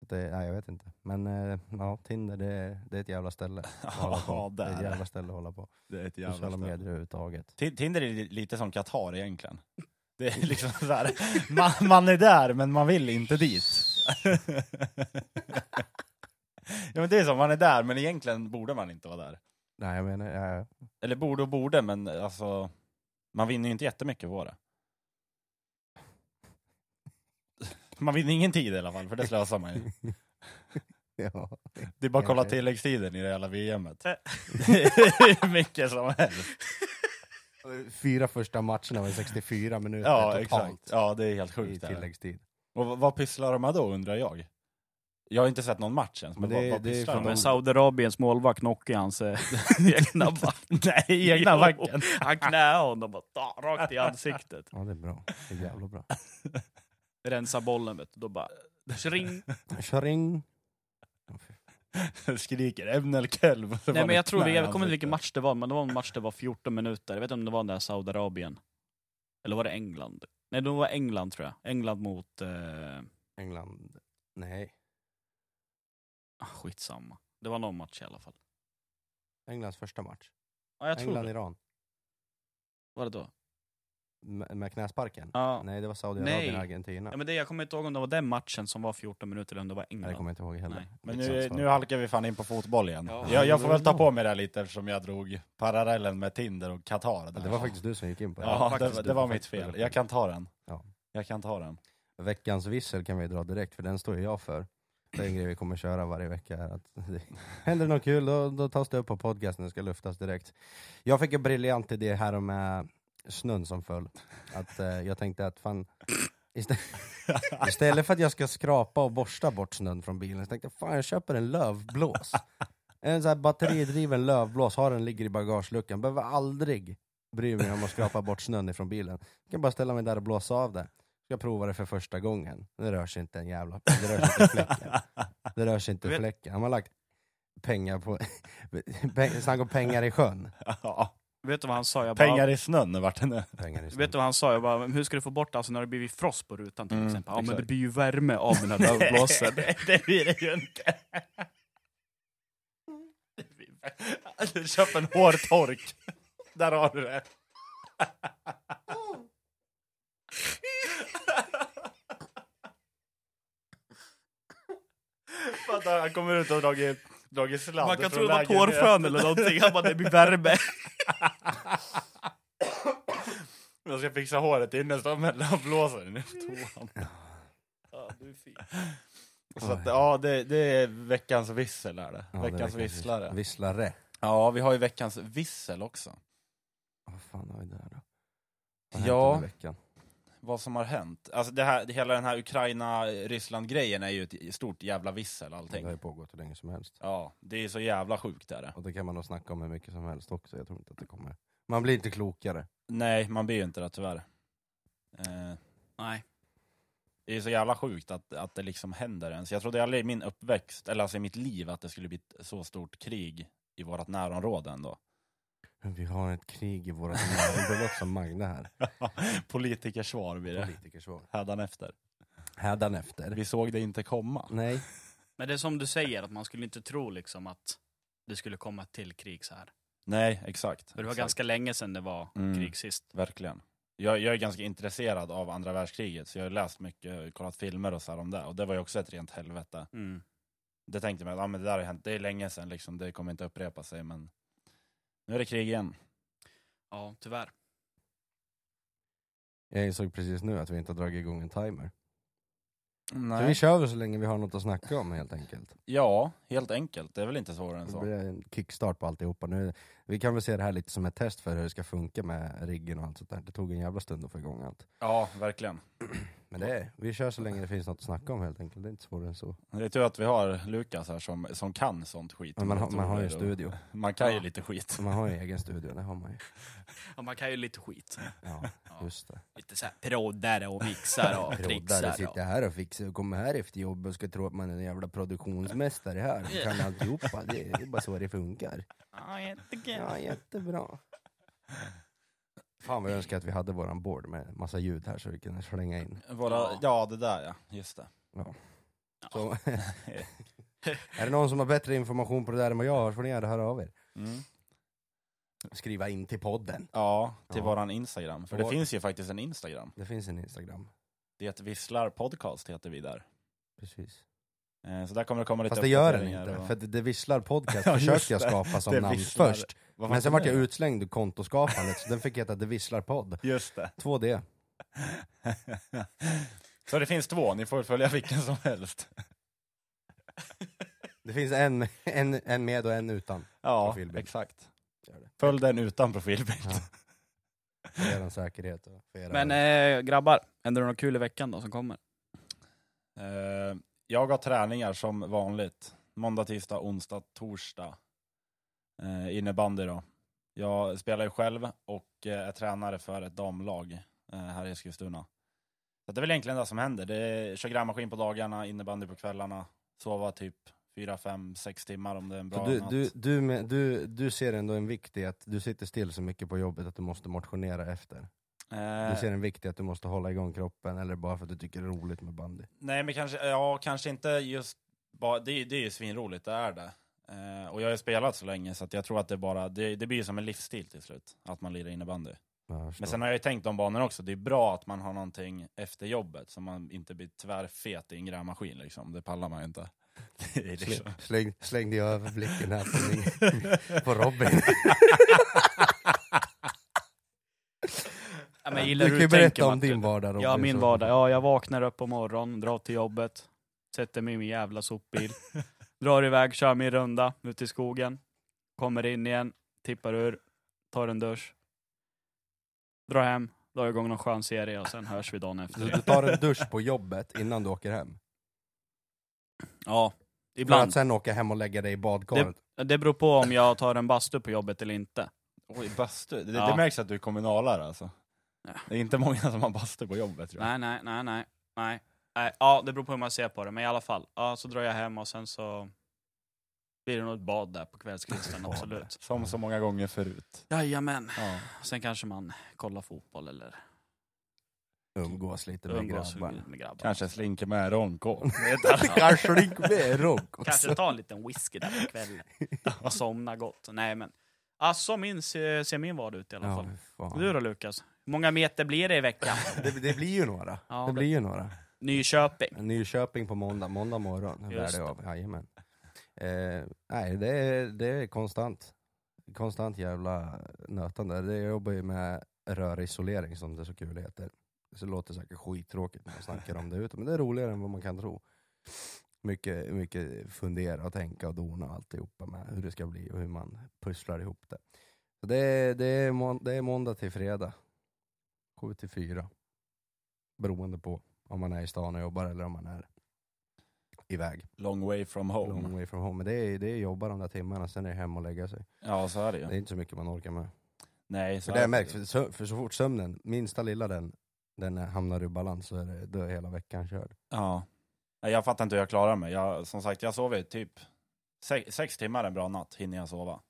Speaker 2: Det, nej, jag vet inte. Men eh, ja, Tinder det, det är ett jävla ställe att hålla
Speaker 1: Ja,
Speaker 2: på. Det är ett
Speaker 1: där.
Speaker 2: jävla ställe att hålla på.
Speaker 1: Det är ett
Speaker 2: Sociala
Speaker 1: ställe.
Speaker 2: medier överhuvudtaget.
Speaker 1: Ti- Tinder är li- lite som Qatar egentligen. Det är liksom så här, man, man är där men man vill inte dit. ja, men det är som, man är där men egentligen borde man inte vara där.
Speaker 2: Nej, jag menar, ja,
Speaker 1: Eller borde och borde, men alltså, man vinner ju inte jättemycket på det. Man vinner ingen tid i alla fall, för det slösar man ju.
Speaker 2: ja.
Speaker 1: Det är bara att kolla
Speaker 2: Okej.
Speaker 1: tilläggstiden i det hela VMet. Det är hur mycket som helst.
Speaker 2: Fyra första matcherna var 64 minuter
Speaker 1: Ja,
Speaker 2: totalt
Speaker 1: exakt. Ja, det är helt
Speaker 2: i
Speaker 1: sjukt. det här.
Speaker 2: tilläggstid.
Speaker 1: Och v- vad pysslar de med då undrar jag? Jag har inte sett någon match ens, men,
Speaker 2: Men det-
Speaker 1: vad, vad
Speaker 2: det är
Speaker 1: pysslar
Speaker 2: från
Speaker 1: de med?
Speaker 3: Men Saudiarabiens målvakt knockade hans eh, egna back.
Speaker 1: Nej, egna
Speaker 3: Jo,
Speaker 1: backen.
Speaker 3: Han knäade honom och ta, rakt i ansiktet.
Speaker 2: Ja, det är bra. Det är jävla bra.
Speaker 3: Rensa bollen vet du, då bara Tjring.
Speaker 2: Tjoring!
Speaker 1: Skriker Emnel Kelv. och så
Speaker 3: Nej
Speaker 1: var
Speaker 3: men
Speaker 1: det
Speaker 3: jag tror,
Speaker 1: knä
Speaker 3: det,
Speaker 1: i
Speaker 3: jag kommer inte vilken
Speaker 1: ansiktet.
Speaker 3: match det var, men det var en match det var 14 minuter. Jag vet inte om det var den där Saudiarabien. Eller var det England? Nej det var England tror jag. England mot... Eh,
Speaker 2: England. Nej.
Speaker 3: ah, skitsamma. Det var någon match i alla fall.
Speaker 2: Englands första match.
Speaker 3: Ja jag tror det.
Speaker 2: England-Iran.
Speaker 3: Var det då?
Speaker 2: Med, med knäsparken?
Speaker 3: Ja.
Speaker 2: Nej, det var Saudiarabien
Speaker 3: Nej.
Speaker 2: och Argentina.
Speaker 3: ja men det, jag kommer inte ihåg om det var den matchen som var 14 minuter eller om det var
Speaker 2: Nej, det
Speaker 3: England.
Speaker 2: kommer jag inte ihåg heller.
Speaker 3: Nej.
Speaker 1: Men nu,
Speaker 2: Skitsamma.
Speaker 1: nu halkar vi fan in på fotboll igen.
Speaker 3: liksom, Ja.
Speaker 1: Jag, jag får väl ta på mig det här lite eftersom jag drog parallellen med Tinder och Qatar.
Speaker 2: Ja,
Speaker 1: Där.
Speaker 2: det var faktiskt du som gick in på det.
Speaker 1: ja,
Speaker 3: faktiskt,
Speaker 1: det,
Speaker 2: du
Speaker 1: det var
Speaker 2: får
Speaker 1: mitt
Speaker 2: faktiskt
Speaker 1: fel.
Speaker 2: skylla
Speaker 1: Jag kan ta den.
Speaker 2: Ja.
Speaker 1: Jag kan ta den.
Speaker 2: Veckans vissel kan vi dra direkt, för den står ju jag för. Det är en grej vi kommer köra varje vecka. Här, att det, händer det något kul, då, då tas det upp på podcasten och ska luftas direkt. Jag fick en briljant idé här om eh, snön som föll. Att, eh, jag tänkte att fan, istä- istället för att jag ska skrapa och borsta bort snön från bilen, så tänkte jag fan jag köper en lövblås. En sån här batteridriven lövblås, har den ligger i bagageluckan. Behöver aldrig bry mig om att skrapa bort snön ifrån bilen. Jag kan bara ställa mig där och blåsa av det. Jag provar det för första gången. Det rör sig inte en jävla... Det rör sig inte fläcken. Det rör sig inte
Speaker 3: Vet-
Speaker 2: fläcken. Han har lagt pengar på... Peng, snack om pengar i sjön.
Speaker 1: Ja.
Speaker 3: Vet du vad han sa? Jag bara,
Speaker 1: Pengar i snön vart det nu.
Speaker 2: Pengar i
Speaker 3: Vet du vad han sa? Jag bara, "Men hur ska du få bort det alltså, när det blivit frost på rutan till
Speaker 1: Mm,
Speaker 3: exempel? Ja men det
Speaker 1: exakt.
Speaker 3: blir ju värme av den här lövblåsen.
Speaker 1: det blir det ju inte. Du köper en hårtork. Där har du det. Fatta, han kommer ut och dragit, dragit sladd
Speaker 3: Man kan tro
Speaker 1: från
Speaker 3: det var
Speaker 1: lägenheten.
Speaker 3: tårfrön eller någonting. Han bara, det blir värme.
Speaker 1: Jag ska fixa håret innan så mellanblåser den i toan.
Speaker 3: Ja, du är fin.
Speaker 1: Så att, ja, det, det är veckans vissel är det.
Speaker 2: Ja, det är
Speaker 1: veckans visslare.
Speaker 2: Visslare.
Speaker 1: Ja, vi har ju veckans vissel också.
Speaker 2: Vad fan har vi där då?
Speaker 1: Ja.
Speaker 2: hände i veckan?
Speaker 1: Vad som har hänt. Alltså det här, hela den här Ukraina-Ryssland-grejen är ju ett stort jävla vissel
Speaker 2: Det
Speaker 1: allting.
Speaker 2: har ju pågått hur länge som helst.
Speaker 1: Ja, det är så jävla sjukt är det.
Speaker 2: Och det kan man nog snacka om hur mycket som helst också. Jag tror inte att det kommer... Man blir inte klokare.
Speaker 1: Nej, man blir ju inte det tyvärr. Eh,
Speaker 3: Nej.
Speaker 1: det är så jävla sjukt att, att det liksom händer ens. Jag trodde aldrig i min uppväxt, eller alltså i mitt liv, att det skulle bli ett så stort krig i vårt närområde ändå.
Speaker 2: Vi har ett krig i våra länder. Det låter som Magne här.
Speaker 1: Politikersvar blir det
Speaker 2: Politikersvar.
Speaker 1: hädanefter.
Speaker 2: Hädanefter.
Speaker 1: Vi såg det inte komma.
Speaker 2: Nej.
Speaker 3: Men det är som du säger, att man skulle inte tro liksom att det skulle komma till krig så här.
Speaker 1: Nej, exakt.
Speaker 3: För det var
Speaker 1: exakt.
Speaker 3: ganska länge sedan det var
Speaker 1: Mm.
Speaker 3: krig sist.
Speaker 1: Verkligen. Jag, jag är ganska intresserad av andra världskriget, så jag har läst mycket, kollat filmer och så här om det. Och det var ju också ett rent helvete.
Speaker 3: Mm.
Speaker 1: Det tänkte man, ja men det där har hänt, det är länge sedan liksom, det kommer inte upprepa sig. Men nu är det krig igen.
Speaker 3: Ja, tyvärr.
Speaker 2: Jag insåg precis nu att vi inte har dragit igång en timer. Så vi
Speaker 1: Nej.
Speaker 2: kör väl så länge vi har något att snacka om helt enkelt.
Speaker 1: Ja, helt enkelt. Det är väl inte svårare än
Speaker 2: Det
Speaker 1: så.
Speaker 2: blir en kickstart på alltihopa. Nu, vi kan väl se det här lite som ett test för hur det ska funka med riggen och allt sånt där. Det tog en jävla stund att få igång allt.
Speaker 1: Ja, verkligen.
Speaker 2: Men det är, vi kör så länge det finns något att snacka om helt enkelt. Det är inte svårare än så.
Speaker 1: Det är tur att vi har Lukas här som, som kan sånt skit.
Speaker 2: Men man, har- man har ju en
Speaker 1: Och-
Speaker 2: studio.
Speaker 1: Man kan ju
Speaker 3: Ja.
Speaker 1: lite skit.
Speaker 2: Man har ju egen studio, det har man ju.
Speaker 3: Ja, man kan ju lite skit.
Speaker 2: Ja,
Speaker 3: Ja.
Speaker 2: just det.
Speaker 3: Lite så här proddare och mixar och
Speaker 2: Proddare
Speaker 3: trixar. Och...
Speaker 2: sitter här och fixar och kommer här efter jobbet och ska tro att man är en jävla produktionsmästare här. och Kan alltihopa. Det är det är bara så det funkar.
Speaker 3: Ja, jättekul.
Speaker 2: Ja, jättebra. Fan vad jag önskar att vi hade våran board med massa ljud här så vi kunde slänga in.
Speaker 1: Våra,
Speaker 3: Ja.
Speaker 1: ja, det där ja. Just det.
Speaker 2: Så, är det någon som har bättre information på det där än vad jag har så får ni gärna höra av er.
Speaker 1: Mm.
Speaker 2: Skriva in till podden.
Speaker 1: Ja, till
Speaker 2: Ja.
Speaker 1: våran Instagram. För det
Speaker 2: Vår-
Speaker 1: finns ju faktiskt en Instagram.
Speaker 2: Det finns en Instagram.
Speaker 1: Det visslar podcast heter vi där.
Speaker 2: Precis.
Speaker 1: Eh, Så där kommer det komma lite
Speaker 2: Fast det gör den
Speaker 1: uppdateringar
Speaker 2: inte,
Speaker 1: och-
Speaker 2: för det visslar podcast
Speaker 1: Ja, just
Speaker 2: försökte jag
Speaker 1: det.
Speaker 2: skapa som
Speaker 1: Det
Speaker 2: namn
Speaker 1: Visslar.
Speaker 2: först.
Speaker 1: Vad
Speaker 2: Men
Speaker 1: fan
Speaker 2: sen
Speaker 1: kom
Speaker 2: vart jag
Speaker 1: det?
Speaker 2: utslängd ur kontoskapandet så den fick heta Det visslar podd.
Speaker 1: Just det.
Speaker 2: 2D.
Speaker 1: Så det finns två, ni får följa vilken som helst.
Speaker 2: Det finns en, en, en med och en utan.
Speaker 1: Ja,
Speaker 2: Profilbild.
Speaker 1: exakt.
Speaker 2: Gör det.
Speaker 1: Följ den utan profilbild.
Speaker 2: Ja. För er säkerhet och för er
Speaker 3: Men eh, grabbar, händer det något kul i veckan då som kommer?
Speaker 1: Eh, jag har träningar som vanligt. Måndag, tisdag, onsdag, torsdag. Eh, innebandy då. Jag spelar ju själv och eh, är tränare för ett damlag eh, här i Eskilstuna. Så det är väl egentligen det som händer. Det är 20 grammaskin på dagarna, innebandy på kvällarna. Sova typ 4, 5, 6 timmar om det är en bra
Speaker 2: Så du,
Speaker 1: natt.
Speaker 2: du, du, med, du, du ser ändå en vikt i att du sitter still så mycket på jobbet att du måste motionera efter.
Speaker 1: Eh,
Speaker 2: Du ser en vikt i att du måste hålla igång kroppen eller bara för att du tycker det är roligt med bandy.
Speaker 1: Nej, men kanske, ja, kanske inte just... Bara, det, är- det är ju svinroligt, det är det. Eh, och jag har ju spelat så länge så att jag tror att det bara... Det, det blir ju som en livsstil till slut, att man lirar innebandy.
Speaker 2: Ja, jag
Speaker 1: Men
Speaker 2: förstår.
Speaker 1: sen har jag ju tänkt om banorna också, det är bra att man har någonting efter jobbet så man inte blir tvärfet i en grävmaskin liksom. Det pallar man ju inte. Det är liksom...
Speaker 2: Släng, släng, slängde jag över blicken här på, min, på Robin.
Speaker 3: Ja, men gillar
Speaker 2: Du
Speaker 3: hur
Speaker 2: kan ju
Speaker 3: tänker,
Speaker 2: berätta om
Speaker 3: Martin.
Speaker 2: din vardag Robin.
Speaker 3: Ja, min
Speaker 2: så-
Speaker 3: vardag. Ja, jag vaknar upp på morgonen, drar till jobbet, sätter mig i min jävla sopbil, drar iväg, kör min runda ut i skogen, kommer in igen, tippar ur, tar en dusch, drar hem, drar igång någon skön serie och sen hörs vi dagen
Speaker 2: Så
Speaker 3: efter.
Speaker 2: Du tar en dusch på jobbet innan du åker hem.
Speaker 3: Ja,
Speaker 2: Ibland. För
Speaker 3: ibland.
Speaker 2: att sen åka hem och lägga dig i badkaret.
Speaker 3: Det beror på om jag tar en bastu på jobbet eller inte.
Speaker 1: Oj, bastu. Det, det
Speaker 3: Ja.
Speaker 1: märks att du är kommunalare alltså.
Speaker 3: Ja.
Speaker 1: Det är inte många som har bastu på jobbet tror jag.
Speaker 3: Nej, nej, nej, nej, nej. nej. Ja, det beror på hur man ser på det, men i alla fall. Ja, så drar jag hem och sen så blir det nog ett bad där på kvällskvisten, absolut.
Speaker 1: Som så många gånger förut.
Speaker 3: Jajamän.
Speaker 1: Ja.
Speaker 3: Sen kanske man kollar fotboll eller
Speaker 2: Umgås lite med
Speaker 3: umgås
Speaker 2: grabbarna.
Speaker 3: med grabbarna.
Speaker 1: Kanske slinker med ronkål.
Speaker 2: Kanske drink med rock också.
Speaker 3: Kanske ta en liten whisky där på kvällen och somna gott. Nej men, ah, så min, ser ser min vardag ut i alla
Speaker 2: Ja,
Speaker 3: fall.
Speaker 2: fy fan.
Speaker 3: Du då Lukas? Hur många meter blir det i veckan?
Speaker 2: det, det blir ju några.
Speaker 3: Ja,
Speaker 2: det
Speaker 3: det-
Speaker 2: blir ju några.
Speaker 3: Nyköping.
Speaker 2: Nyköping på måndag, måndag morgon. Hur är
Speaker 3: Just
Speaker 2: det
Speaker 3: det.
Speaker 2: av? Jajamän. Eh, nej, det är, det är konstant. Konstant jävla nötande. Det jag jobbar ju med rörisolering som det så kul heter. Så det låter säkert skittråkigt när man snackar om det ute, men det är roligare än vad man kan tro. Mycket, mycket fundera och tänka och dona och alltihopa med hur det ska bli och hur man pusslar ihop det. Så det, är- det, är, mån- det är måndag till fredag, 7 till 4. Beroende på om man är i stan och jobbar eller om man är iväg.
Speaker 1: Long way from home.
Speaker 2: Long way from home. Men det är, det är jobba de där timmarna, sen är det hem och lägga sig.
Speaker 1: Ja, så är det
Speaker 2: Det är
Speaker 1: ju.
Speaker 2: inte så mycket man orkar med.
Speaker 1: Nej, så
Speaker 2: För det
Speaker 1: är
Speaker 2: märks, för så, för så fort sömnen, minsta lilla den, den hamnar ur balans så är det, då är hela veckan körd.
Speaker 1: Ja. Nej, Jag fattar inte hur jag klarar mig. Jag, som sagt, jag sover typ sex, sex timmar en bra natt hinner jag sova.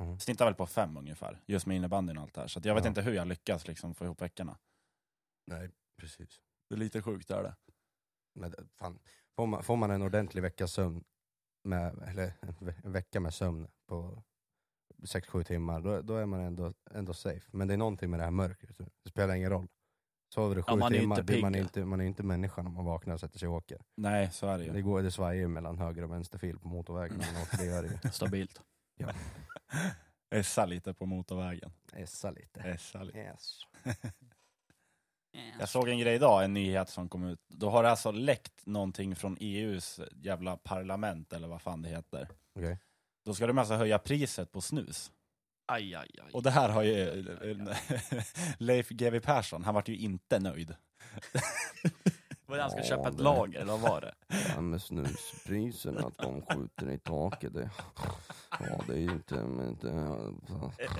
Speaker 3: Mm.
Speaker 2: Mhm.
Speaker 1: Snittar väl på fem ungefär, just med innebandyn och allt det här. Så att jag vet
Speaker 2: Ja.
Speaker 1: inte hur jag lyckas liksom få ihop veckorna.
Speaker 2: Nej, precis.
Speaker 1: Det är lite sjukt är det.
Speaker 2: Men det- fan, får, man, får man en ordentlig veckas sömn, med, eller en ve- en vecka med sömn på 6-7 timmar, då, då är man ändå, ändå safe. Men det är någonting med det här mörkret, det spelar ingen roll. Sover du sju
Speaker 3: Ja, man är ju
Speaker 2: timmar,
Speaker 3: inte
Speaker 2: det- man, är
Speaker 3: pigg.
Speaker 2: inte, man är inte människa när man vaknar och sätter sig och åker.
Speaker 1: Nej, så är det
Speaker 2: Det,
Speaker 1: ju.
Speaker 2: går, det svajar ju mellan höger och vänster fil på motorvägen när man åker, det gör det ju.
Speaker 3: Stabilt.
Speaker 1: Essa lite på motorvägen.
Speaker 2: Essa lite.
Speaker 1: Essa lite.
Speaker 2: Yes.
Speaker 1: Jag såg en grej idag, en nyhet som kom ut. Då har det alltså läckt någonting från EUs jävla parlament, eller vad fan det heter.
Speaker 2: Okej.
Speaker 1: Då ska de alltså höja priset på snus.
Speaker 3: Aj, aj, aj.
Speaker 1: Och det här har ju eh, Leif GW Persson, han vart ju inte nöjd.
Speaker 3: Var det han ska
Speaker 2: Ja,
Speaker 3: köpa ett
Speaker 2: det-
Speaker 3: lager, eller vad var det?
Speaker 2: Det här med snuspriserna, att de skjuter i taket. Det, ja, det är ju inte... Men det,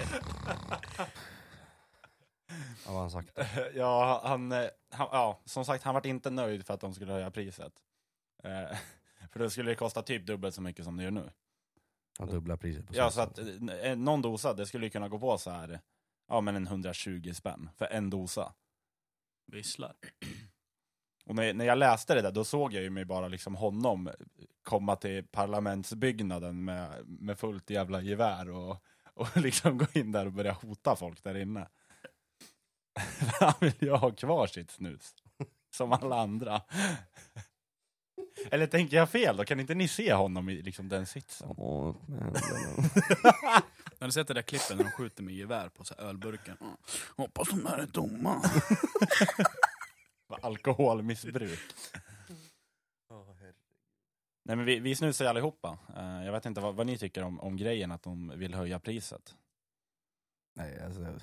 Speaker 2: vad har han sagt?
Speaker 1: Ja, han, eh, han, ja, som sagt, han vart inte nöjd för att de skulle höja priset. Eh, för då skulle det kosta typ dubbelt så mycket som det gör nu.
Speaker 2: Han dubblar priset på
Speaker 1: Ja,
Speaker 2: snus.
Speaker 1: så att eh, någon dosa, det skulle ju kunna gå på så här, ja men en 120 spänn för en dosa.
Speaker 3: Visslar.
Speaker 1: Och när, när jag läste det där, då såg jag ju mig bara liksom honom komma till parlamentsbyggnaden med, med fullt jävla gevär och, och liksom gå in där och börja hota folk där inne. För Han vill ju ha kvar sitt snus, som alla andra. Eller tänker jag fel då? Kan inte ni se honom i liksom den sitsen?
Speaker 2: Ja, men-
Speaker 3: Har du sett det där klippet när de skjuter med gevär på så här ölburken? Hoppas de här är tomma.
Speaker 1: Alkoholmissbruk. Nej men vi, vi snusar ju allihopa. Eh, jag vet inte vad, vad ni tycker om, om grejen att de vill höja priset.
Speaker 2: Nej, alltså,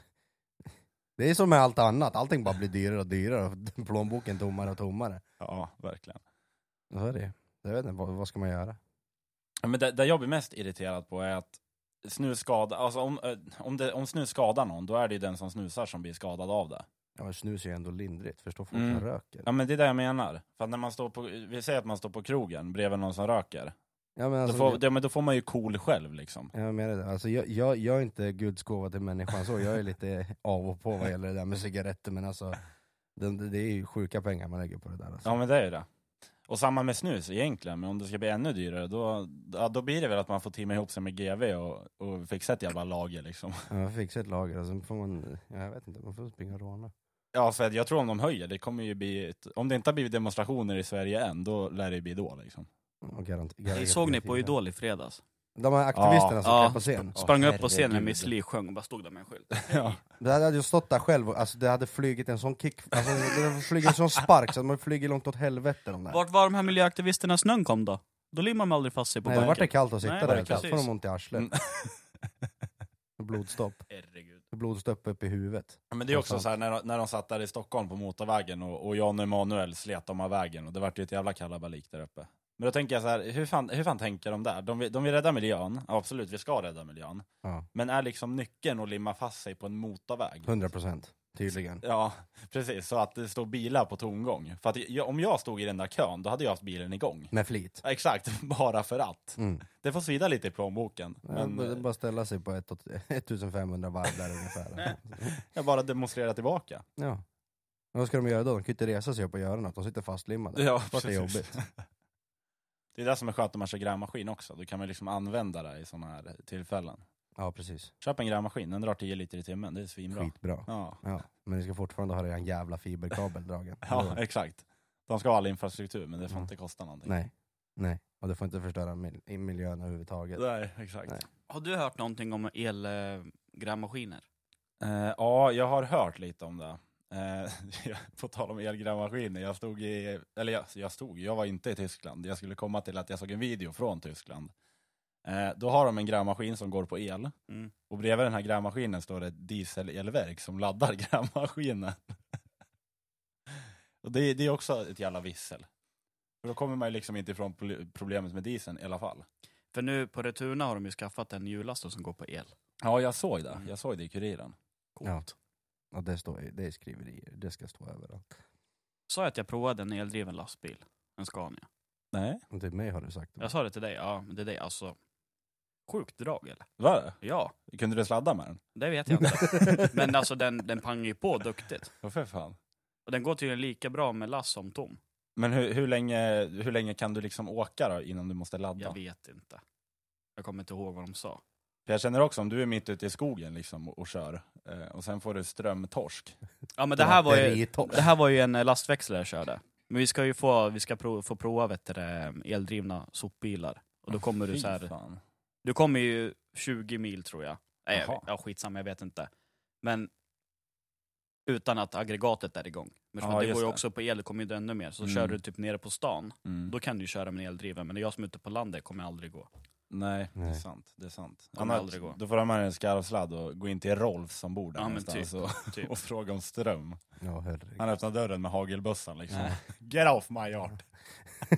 Speaker 2: det är som med allt annat, allting bara blir dyrare och dyrare och plånboken tommare och tommare.
Speaker 1: Ja, verkligen.
Speaker 2: Så är det ju. Jag vet inte, vad, vad ska man göra?
Speaker 1: Ja, Men det, det jag blir mest irriterad på är att snus skadar, alltså om, eh, om, det, om snus skadar någon, då är det ju den som snusar som blir skadad av det.
Speaker 2: Ja, men snus är ju ändå lindrigt, förstå folk
Speaker 1: Mm.
Speaker 2: som röker.
Speaker 1: Ja men det är det jag menar. För att när man står på, vi säger att man står på krogen bredvid någon som röker.
Speaker 2: Ja, men alltså,
Speaker 1: då, får, ja, men då får man ju cool själv liksom.
Speaker 2: Ja, Jag menar det. Alltså, jag, jag, jag är inte guds gåva till människan så, jag är lite av och på vad gäller det där med cigaretter men alltså det, det är ju sjuka pengar man lägger på det där. Alltså.
Speaker 1: Ja men det är ju det. Och samma med snus egentligen, men om det ska bli ännu dyrare då, ja, då blir det väl att man får timma ihop sig med GV och, och fixa ett jävla lager liksom.
Speaker 2: Ja, man fixar ett lager och sen får man, ja, jag vet inte, man får springa och råna.
Speaker 1: Ja för att jag tror om de höjer, det kommer ju bli, ett- om det inte har blivit demonstrationer i Sverige än, då lär det ju bli då liksom.
Speaker 2: Och garant,
Speaker 3: Det såg ni på Idol i fredags?
Speaker 2: De här aktivisterna
Speaker 1: Ja,
Speaker 2: som
Speaker 3: ja.
Speaker 2: klev på scen.
Speaker 3: Sprang
Speaker 2: Åh,
Speaker 3: upp på scenen när
Speaker 2: herregud.
Speaker 3: Miss Li sjöng och bara stod där med en skylt.
Speaker 1: Ja.
Speaker 2: Det hade jag stått där själv och alltså, det hade flugit en sån kick, alltså, det hade flugit en sån spark så att man flyger långt åt helvete de där.
Speaker 3: Vart var de här miljöaktivisterna när snön kom då? Då limmade man aldrig fast sig på
Speaker 2: Nej, det vart det
Speaker 3: backen.
Speaker 2: kallt att sitta
Speaker 3: Nej,
Speaker 2: där,
Speaker 3: precis.
Speaker 2: kallt får de ont i arslet.
Speaker 1: Mm.
Speaker 2: Blodstopp,
Speaker 3: Herregud.
Speaker 2: blodstopp upp i huvudet.
Speaker 1: Ja, Men det är också
Speaker 2: Någonstans.
Speaker 1: så här när, de- när de satt där i Stockholm på motorvägen och, och Jan Emanuel slet dem av vägen och det vart ju ett jävla kalabalik där uppe. Men då tänker jag så här, hur fan, hur fan tänker de där? De vill, de vill rädda miljön, ja, absolut vi ska rädda miljön.
Speaker 2: Ja,
Speaker 1: Men är liksom nyckeln att limma fast sig på en motorväg?
Speaker 2: 100%. tydligen.
Speaker 1: Ja, precis. Så att det står bilar på tomgång. För att jag, om jag stod i den där kön, då hade jag haft bilen igång.
Speaker 2: Med flit.
Speaker 1: Ja, Exakt, bara för att.
Speaker 2: Mm.
Speaker 1: Det får svida lite i plånboken.
Speaker 2: Ja,
Speaker 1: Men
Speaker 2: det är
Speaker 1: eh,
Speaker 2: bara att ställa sig på ett, åt- 1500 varv där ungefär.
Speaker 1: jag bara demonstrerar tillbaka.
Speaker 2: Ja. Men vad ska de göra då? De kan ju inte resa sig upp och göra något, de sitter fastlimmade.
Speaker 1: Ja,
Speaker 2: Fast det är
Speaker 1: precis.
Speaker 2: jobbigt.
Speaker 1: Det är det som är skönt om man kör grävmaskin också. Då kan man liksom använda det i sådana här tillfällen.
Speaker 2: Ja precis,
Speaker 1: Köp en grävmaskin, den drar 10 liter i timmen. Det är svinbra.
Speaker 2: skitbra.
Speaker 1: Ja.
Speaker 2: Ja. Men ni ska fortfarande ha en jävla fiberkabel dragen.
Speaker 1: ja, exakt. De ska ha all infrastruktur, men det får
Speaker 2: Mm.
Speaker 1: inte kosta någonting.
Speaker 2: Nej, nej. Och det får inte förstöra mil- i miljön överhuvudtaget.
Speaker 1: Nej, exakt.
Speaker 2: Nej.
Speaker 3: Har du hört någonting om elgrävmaskiner?
Speaker 1: Eh, ja, jag har hört lite om det. Eh, på tal om elgrävmaskiner, jag stod i, eller jag, jag stod, jag var inte i Tyskland. Jag skulle komma till att jag såg en video från Tyskland. Eh, då har de en grävmaskin som går på el
Speaker 3: Mm.
Speaker 1: och bredvid den här grävmaskinen står det ett dieselelverk som laddar grävmaskinen. och det, det är också ett jävla vissel. För då kommer man ju liksom inte ifrån pl- problemet med dieseln i alla fall.
Speaker 3: För nu på Returna har de ju skaffat en hjullast då som går på el.
Speaker 1: Ja, jag såg det.
Speaker 3: Mm.
Speaker 1: Jag såg det i Kuriren.
Speaker 2: Coolt. Och det, står, i- det är skriverier, det ska stå överallt.
Speaker 3: Sa jag att jag provade en eldriven lastbil? En Scania.
Speaker 1: Nej,
Speaker 2: Och till mig har du sagt det.
Speaker 3: Jag sa det till dig, ja men det är det alltså. Sjukt drag eller?
Speaker 1: var det?
Speaker 3: Ja,
Speaker 1: Kunde du sladda med den?
Speaker 3: det vet jag inte. Men alltså den, den pangar ju på duktigt.
Speaker 1: Ja, för fan.
Speaker 3: Och den går tydligen lika bra med last som tom.
Speaker 1: Men hur, hur, länge, hur länge kan du liksom åka då innan du måste
Speaker 3: Jag
Speaker 1: ladda? För
Speaker 3: vet inte. Jag kommer inte ihåg vad de sa.
Speaker 1: jag känner också om du är mitt ute i skogen liksom och, och kör eh, och sen får du strömtorsk.
Speaker 3: Ja men det här var ju,
Speaker 2: Batteritorr.
Speaker 3: det här var ju en eh, lastväxlare jag körde. Men vi ska ju få, vi ska prov, få prova vet du, det, eh, eldrivna sopbilar. Och då kommer du
Speaker 1: Fy
Speaker 3: så här,
Speaker 1: fan.
Speaker 3: du kommer ju 20 mil tror jag. Nej, jag
Speaker 1: Jaha.
Speaker 3: vet- ja skitsamma, jag vet inte. Men utan att aggregatet är igång. Men
Speaker 1: Ja,
Speaker 3: ja, det
Speaker 1: just
Speaker 3: går ju
Speaker 1: det.
Speaker 3: också på el, det kommer ju ännu mer. Så
Speaker 1: Mm.
Speaker 3: kör du typ nere på stan,
Speaker 1: Mm.
Speaker 3: då kan du ju köra med en eldriven. Men det är jag som är ute på landet, kommer aldrig gå.
Speaker 1: Nej, det är
Speaker 2: Nej.
Speaker 1: sant. Det är sant.
Speaker 3: Kommer
Speaker 1: Annars,
Speaker 3: aldrig gå.
Speaker 1: då får du ha med dig en skarvsladd och gå in till Rolf som bor där
Speaker 3: Ja, men
Speaker 1: någonstans och,
Speaker 3: Typ.
Speaker 1: och fråga om ström.
Speaker 2: Ja, herregud.
Speaker 1: Han öppnar dörren med hagelbössan liksom. Get off my yard!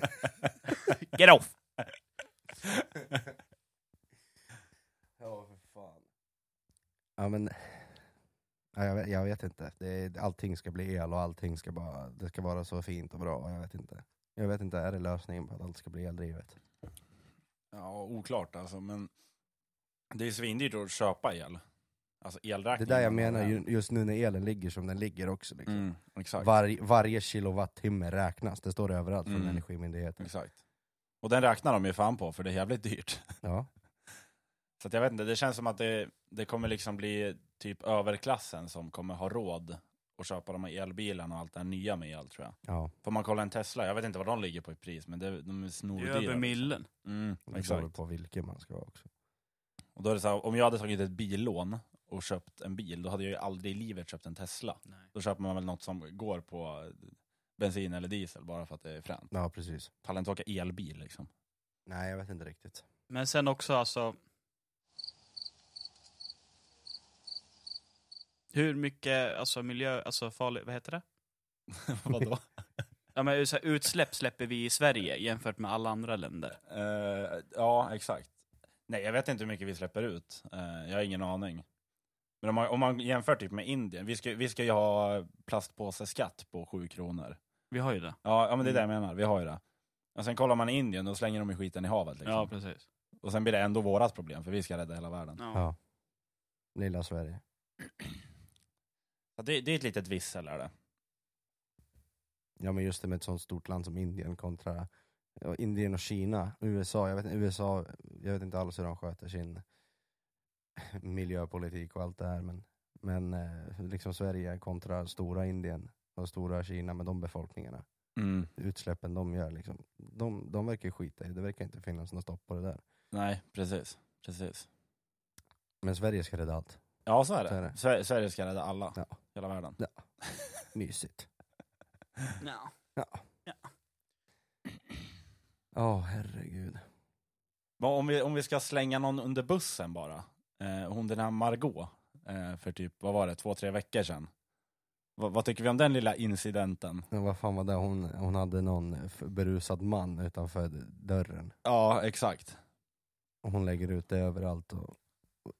Speaker 3: Get off!
Speaker 2: Ja, för fan. Ja, men... Ja, jag, vet, jag vet inte. Det är, allting ska bli el och allting ska bara... Det ska vara så fint och bra. och Jag vet inte. Jag vet inte, är det lösningen på att allt ska bli eldrivet?
Speaker 1: Ja, oklart alltså men det är svindyrt att köpa el. Alltså
Speaker 2: Det är
Speaker 1: elräkningen.
Speaker 2: där jag menar ju- just nu när elen ligger som den ligger också. Liksom.
Speaker 1: Mm, exakt.
Speaker 2: Varje- varje kilowattimme räknas, det står det överallt från
Speaker 1: Mm.
Speaker 2: Energimyndigheten.
Speaker 1: Exakt. Och den räknar de ju fan på för det är jävligt dyrt.
Speaker 2: Ja.
Speaker 1: Så att jag vet inte, det känns som att det, det kommer liksom bli typ överklassen som kommer ha råd att köpa de här elbilarna och allt det här nya med el tror jag.
Speaker 2: ja.
Speaker 1: Får man kolla en Tesla, jag vet inte vad de ligger på i pris men det, de är
Speaker 3: Det är
Speaker 1: snordyra.
Speaker 3: över millen.
Speaker 1: Mm,
Speaker 2: Det beror
Speaker 1: exakt.
Speaker 2: på vilken man ska ha också.
Speaker 1: Och då är det så här, om jag hade tagit ett billån och köpt en bil, då hade jag ju aldrig i livet köpt en Tesla.
Speaker 3: Nej.
Speaker 1: Då köper man väl något som går på bensin eller diesel bara för att det är fränt.
Speaker 2: Ja, precis.
Speaker 1: Pallar inte åka elbil liksom.
Speaker 2: Nej, jag vet inte riktigt.
Speaker 3: Men sen också alltså... Hur mycket alltså, miljö, alltså farlig, vad heter det?
Speaker 1: Vadå?
Speaker 3: Ja, men, så här, utsläpp släpper vi i Sverige jämfört med alla andra länder.
Speaker 1: Eh, ja, exakt. Nej, jag vet inte hur mycket vi släpper ut. Eh, jag har ingen aning. Men om man, om man jämför typ med Indien, vi ska, vi ska ju ha plastpåseskatt på 7 kronor.
Speaker 3: Vi har ju det.
Speaker 1: Ja, ja men det är det jag menar, vi har ju det. Och sen kollar man i Indien, då slänger de ju skiten i havet. Liksom.
Speaker 3: Ja, precis.
Speaker 1: Och sen blir det ändå vårat problem, för vi ska rädda hela världen.
Speaker 3: Ja.
Speaker 2: Ja. Lilla Sverige.
Speaker 1: Så det, det är ett litet vissel är det.
Speaker 2: Ja men just det med ett sånt stort land som Indien kontra ja, Indien och Kina, USA. Jag vet, USA, jag vet inte alls hur de sköter sin miljöpolitik och allt det här men, men eh, liksom Sverige kontra stora Indien och stora Kina med de befolkningarna.
Speaker 1: Mm.
Speaker 2: Utsläppen de gör liksom, de, de verkar ju skita i, det verkar inte finnas något stopp på det där.
Speaker 1: Nej, precis. precis.
Speaker 2: Men Sverige ska rädda allt.
Speaker 1: Ja, så är det.
Speaker 2: Så är det.
Speaker 1: Sver- Sverige ska rädda alla,
Speaker 2: Ja.
Speaker 1: hela världen.
Speaker 2: Mysigt.
Speaker 3: Ja.
Speaker 2: Ja herregud.
Speaker 1: Men om, vi, om vi ska slänga någon under bussen bara. Eh, hon den här Margot eh, för typ, vad var det, två, tre veckor sedan. Va, vad tycker vi om den lilla incidenten?
Speaker 2: Men vad fan var det, hon, hon hade någon f- berusad man utanför dörren.
Speaker 1: Ja, exakt.
Speaker 2: Och hon lägger ut det överallt. Och... och-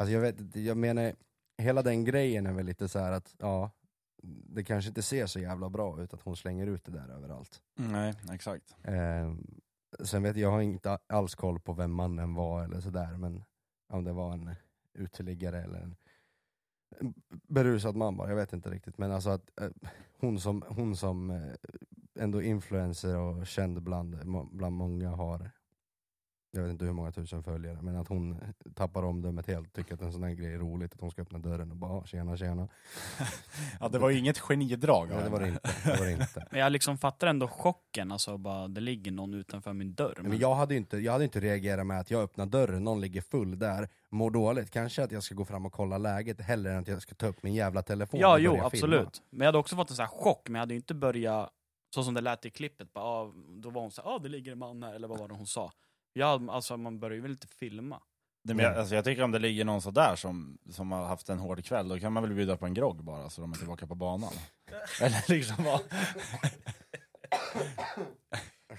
Speaker 2: Alltså jag, vet, inte, jag menar, hela den grejen är väl lite så här att, ja, det kanske inte ser så jävla bra ut att hon slänger ut det där överallt.
Speaker 1: Mm, Nej, exakt.
Speaker 2: Eh, sen vet jag, jag har inte alls koll på vem mannen var eller sådär, men om det var en uteliggare eller en en berusad man bara, jag vet inte riktigt. Men alltså att eh, hon som, hon som eh, ändå influencer och känd bland, må- bland många har, jag vet inte hur många tusen följare, men att hon tappar omdömet helt, tycker att en sån här grej är roligt, att hon ska öppna dörren och bara "Ah, tjena tjena.
Speaker 1: ja, det var ju inget genidrag av
Speaker 2: Nej, det var det
Speaker 1: henne.
Speaker 2: inte. Det var det inte.
Speaker 3: Men jag liksom fattar ändå chocken, alltså bara det ligger någon utanför min dörr.
Speaker 2: Nej, Men jag, hade ju inte, jag hade inte reagerat med att jag öppnar dörren, någon ligger full där, mår dåligt. Kanske att jag ska gå fram och kolla läget hellre än att jag ska ta upp min jävla telefon
Speaker 3: ja,
Speaker 2: och
Speaker 3: jo,
Speaker 2: börja
Speaker 3: absolut.
Speaker 2: filma.
Speaker 3: Men jag hade också fått en sån här chock, men jag hade ju inte börjat så som det lät i klippet, bara, ah, då var hon såhär, ah, det ligger en man här, eller vad var det hon sa? Ja, alltså man börjar ju väl inte filma.
Speaker 1: Det, men jag, alltså, jag tycker om det ligger någon sådär som, som har haft en hård kväll, då kan man väl bjuda på en grogg bara så de är tillbaka på banan. Eller liksom bara...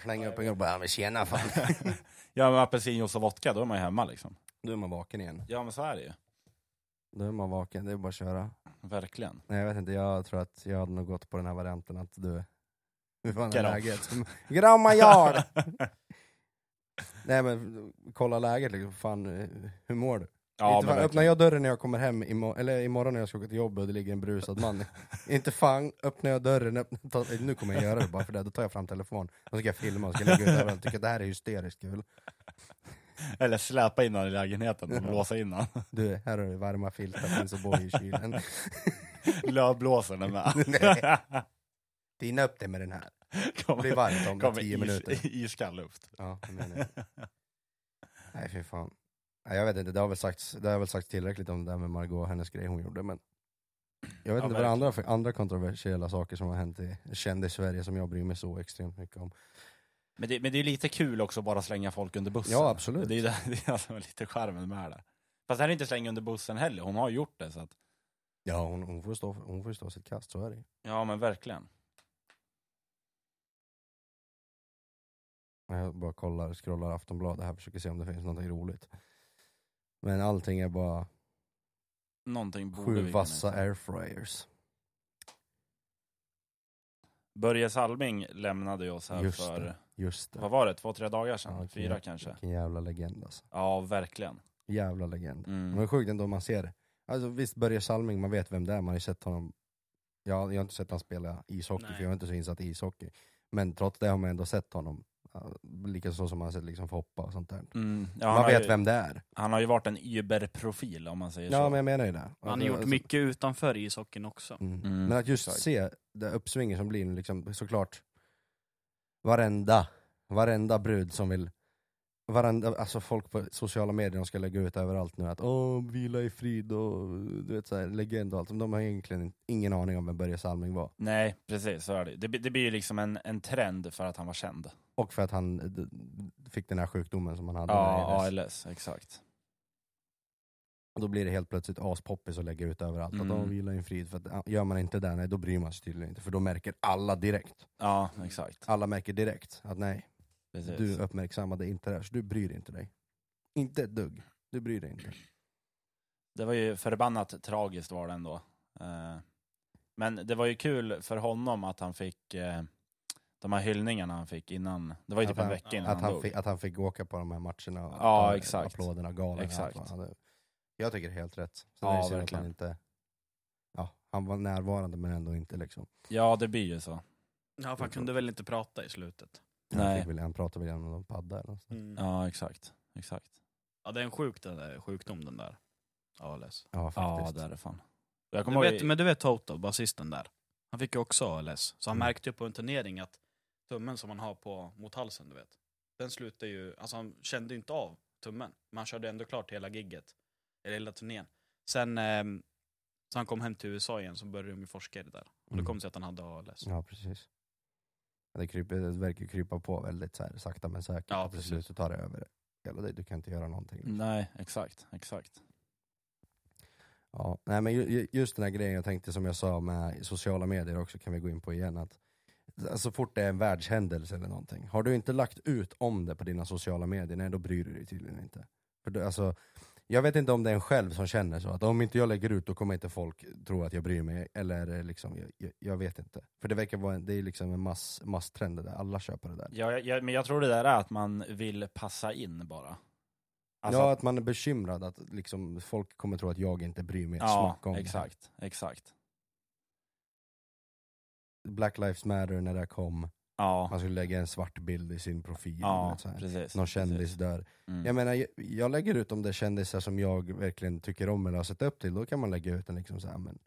Speaker 2: Slänga upp en grej och bara, "Ja, men tjena fan.
Speaker 1: Ja men apelsinjuice och vodka, då är man ju hemma liksom.
Speaker 2: Då är man vaken igen.
Speaker 1: Ja men så är det ju.
Speaker 2: Då är man vaken, det är bara att köra.
Speaker 1: Verkligen.
Speaker 2: Nej jag vet inte, jag tror att jag hade nog gått på den här varianten att du... Hur fan är
Speaker 1: Get off.
Speaker 2: läget? Gramma yard! Nej men kolla läget liksom, fan eh, hur mår du?
Speaker 1: Ja,
Speaker 2: inte
Speaker 1: men
Speaker 2: fan, öppnar
Speaker 1: verkligen.
Speaker 2: jag dörren när jag kommer hem, imo- eller imorgon när jag ska gå till jobbet och det ligger en brusad man. inte fan öppnar jag dörren, öppnar, ta, nu kommer jag göra det bara för det, då tar jag fram telefonen och så ska jag filma och ska lägga ut överallt, tycker att det här är hysteriskt kul.
Speaker 1: Eller släpa in honom i lägenheten och blåsa in honom.
Speaker 2: Du, här har du varma filtar, finns och i kylen.
Speaker 1: Lövblåsaren är med.
Speaker 2: Nej. Dina upp det med den här. Det blir
Speaker 1: Kommer,
Speaker 2: varmt om
Speaker 1: kommer
Speaker 2: 10 minuter.
Speaker 1: is, iskall luft.
Speaker 2: Ja, det menar jag. Nej fy fan. Nej, jag vet inte, det har, väl sagts, det har väl sagts tillräckligt om det där med Margot och hennes grej hon gjorde men Jag vet
Speaker 1: Ja,
Speaker 2: inte vad det
Speaker 1: verkligen.
Speaker 2: andra, för andra kontroversiella saker som har hänt i kändis-Sverige som jag bryr mig så extremt mycket om.
Speaker 1: Men det, men det är lite kul också att bara slänga folk under bussen.
Speaker 2: Ja, absolut.
Speaker 1: Det är ju det, det är alltså lite charmen med det. Fast det här är inte slänga under bussen heller, hon har gjort det. Så att,
Speaker 2: Ja hon, hon, får stå, hon får stå sitt kast, så är det ju.
Speaker 1: ja men verkligen.
Speaker 2: Jag bara kollar, scrollar Aftonbladet här, försöker se om det finns någonting roligt. Men allting är bara
Speaker 1: Någonting borde vi
Speaker 2: sju
Speaker 1: kunna
Speaker 2: vassa
Speaker 1: hitta.
Speaker 2: airfryers.
Speaker 1: Börje Salming lämnade ju oss här
Speaker 2: Just
Speaker 1: för,
Speaker 2: det. Just det.
Speaker 1: vad var det, två, tre dagar sedan?
Speaker 2: Ja, okej.
Speaker 1: Fyra kanske?
Speaker 2: Vilken jävla legend alltså.
Speaker 1: Ja, verkligen.
Speaker 2: Jävla legend.
Speaker 1: Mm.
Speaker 2: Men det är sjukt ändå man ser. Alltså visst Börje Salming, man vet vem det är, man har ju sett honom. Ja, jag har inte sett han spela ishockey,
Speaker 3: Nej.
Speaker 2: för jag är inte så insatt i ishockey. Men trots det har man ändå sett honom. Ja, Likaså som man har sett liksom Foppa och sånt där.
Speaker 1: Mm. Ja,
Speaker 2: man
Speaker 1: har
Speaker 2: vet
Speaker 1: ju,
Speaker 2: vem det är.
Speaker 1: Han har ju varit en überprofil om man säger
Speaker 2: Ja
Speaker 1: så.
Speaker 2: men jag menar ju det.
Speaker 3: Man
Speaker 2: Alltså,
Speaker 3: har gjort
Speaker 2: alltså,
Speaker 3: mycket utanför ishockeyn också.
Speaker 2: Mm.
Speaker 1: Mm.
Speaker 2: Men att just
Speaker 1: Exakt.
Speaker 2: se det uppsvinget som blir nu, liksom, såklart varenda, varenda brud som vill Varenda, alltså folk på sociala medier de ska lägga ut överallt nu att åh, vila i frid och du vet såhär, legend och allt. Men de har egentligen ingen aning om vem Börje Salming var.
Speaker 1: Nej, precis så är det. Det, blir- det blir ju liksom en, en trend för att han var känd.
Speaker 2: Och för att han eh, d- fick den här sjukdomen som han hade.
Speaker 1: Ja,
Speaker 2: med ALS.
Speaker 1: ALS, exakt.
Speaker 2: Och då blir det helt plötsligt aspoppis att lägga ut överallt.
Speaker 1: Mm.
Speaker 2: Att åh, vila i frid. För att, ja, gör man inte det, nej då bryr man sig tydligen inte. För då märker alla direkt.
Speaker 1: Ja, exakt.
Speaker 2: Alla märker direkt att nej,
Speaker 1: Precis.
Speaker 2: Du uppmärksammade inte det här, så du bryr inte dig. Inte ett dugg. Du bryr dig inte.
Speaker 1: Det var ju förbannat tragiskt var det ändå. Eh, Men det var ju kul för honom att han fick eh, de här hyllningarna han fick innan. Det var ju
Speaker 2: Att
Speaker 1: typ en
Speaker 2: han-
Speaker 1: vecka innan
Speaker 2: Att han,
Speaker 1: dog.
Speaker 2: fick, att han fick åka på de här matcherna, och
Speaker 1: Ja,
Speaker 2: ta
Speaker 1: exakt.
Speaker 2: applåderna och galorna.
Speaker 1: Exakt.
Speaker 2: Allt vad han hade. Jag tycker det är helt rätt. Sen
Speaker 1: Ja,
Speaker 2: är det synd att
Speaker 1: verkligen.
Speaker 2: han inte... Ja, han var närvarande men ändå inte liksom.
Speaker 1: Ja, det blir ju så.
Speaker 3: Ja, för han kunde väl inte prata i slutet.
Speaker 1: Nej.
Speaker 2: Han, fick väl, han pratade väl om någon padda eller något sånt.
Speaker 1: Ja, exakt. exakt.
Speaker 3: Ja, det är en sjuk den där, sjukdom den där. ALS.
Speaker 2: Ja,
Speaker 1: Ja,
Speaker 2: faktiskt.
Speaker 1: det är det fan. Jag
Speaker 3: Du
Speaker 1: kommer
Speaker 3: vet,
Speaker 1: ihåg,
Speaker 3: men du vet Toto, basisten där. Han fick ju också ALS. Så han
Speaker 2: Mm.
Speaker 3: märkte ju på en turnering att tummen som han har på, mot halsen, du vet. Den slutade ju, alltså han kände ju inte av tummen. Men han körde ändå klart hela gigget. Eller hela turnén. Sen, ehm, så han kom hem till USA igen så började de ju forska i det där. Och det
Speaker 2: Mm.
Speaker 3: kom sig att han hade ALS.
Speaker 2: Ja, precis. Ja, Det, kryper, det verkar krypa på väldigt så här, sakta men säkert.
Speaker 3: Ja,
Speaker 2: Och till
Speaker 3: precis.
Speaker 2: slut så tar det över. Hela dig, du kan inte göra någonting. liksom.
Speaker 1: Nej, exakt. exakt.
Speaker 2: Ja, nej men ju- ju- just den här grejen jag tänkte som jag sa med sociala medier också kan vi gå in på igen. Att alltså, så fort det är en världshändelse eller någonting, har du inte lagt ut om det på dina sociala medier, nej då bryr du dig tydligen inte. För du, alltså, Jag vet inte om det är en själv som känner så, att om inte jag lägger ut då kommer inte folk tro att jag bryr mig, eller eh, liksom, jag- jag, jag vet inte. För det verkar vara en, det är liksom en mass, masstrend det där, alla köper det där.
Speaker 1: Ja, jag, jag, men jag tror det där är att man vill passa in bara. Alltså
Speaker 2: ja,
Speaker 1: att-
Speaker 2: att man är bekymrad att liksom, folk kommer tro att jag inte bryr mig ett
Speaker 1: ja
Speaker 2: smack om det här.
Speaker 1: exakt, exakt.
Speaker 2: Black Lives Matter när det här kom,
Speaker 1: Ja,
Speaker 2: man skulle lägga en svart bild i sin profil. du
Speaker 1: ja
Speaker 2: vet, så här.
Speaker 1: precis.
Speaker 2: Någon kändis
Speaker 1: precis.
Speaker 2: dör.
Speaker 1: Mm.
Speaker 2: Jag menar, jag, jag lägger ut om det är kändisar som jag verkligen tycker om eller har sett upp till, då kan man lägga ut en liksom så här, men,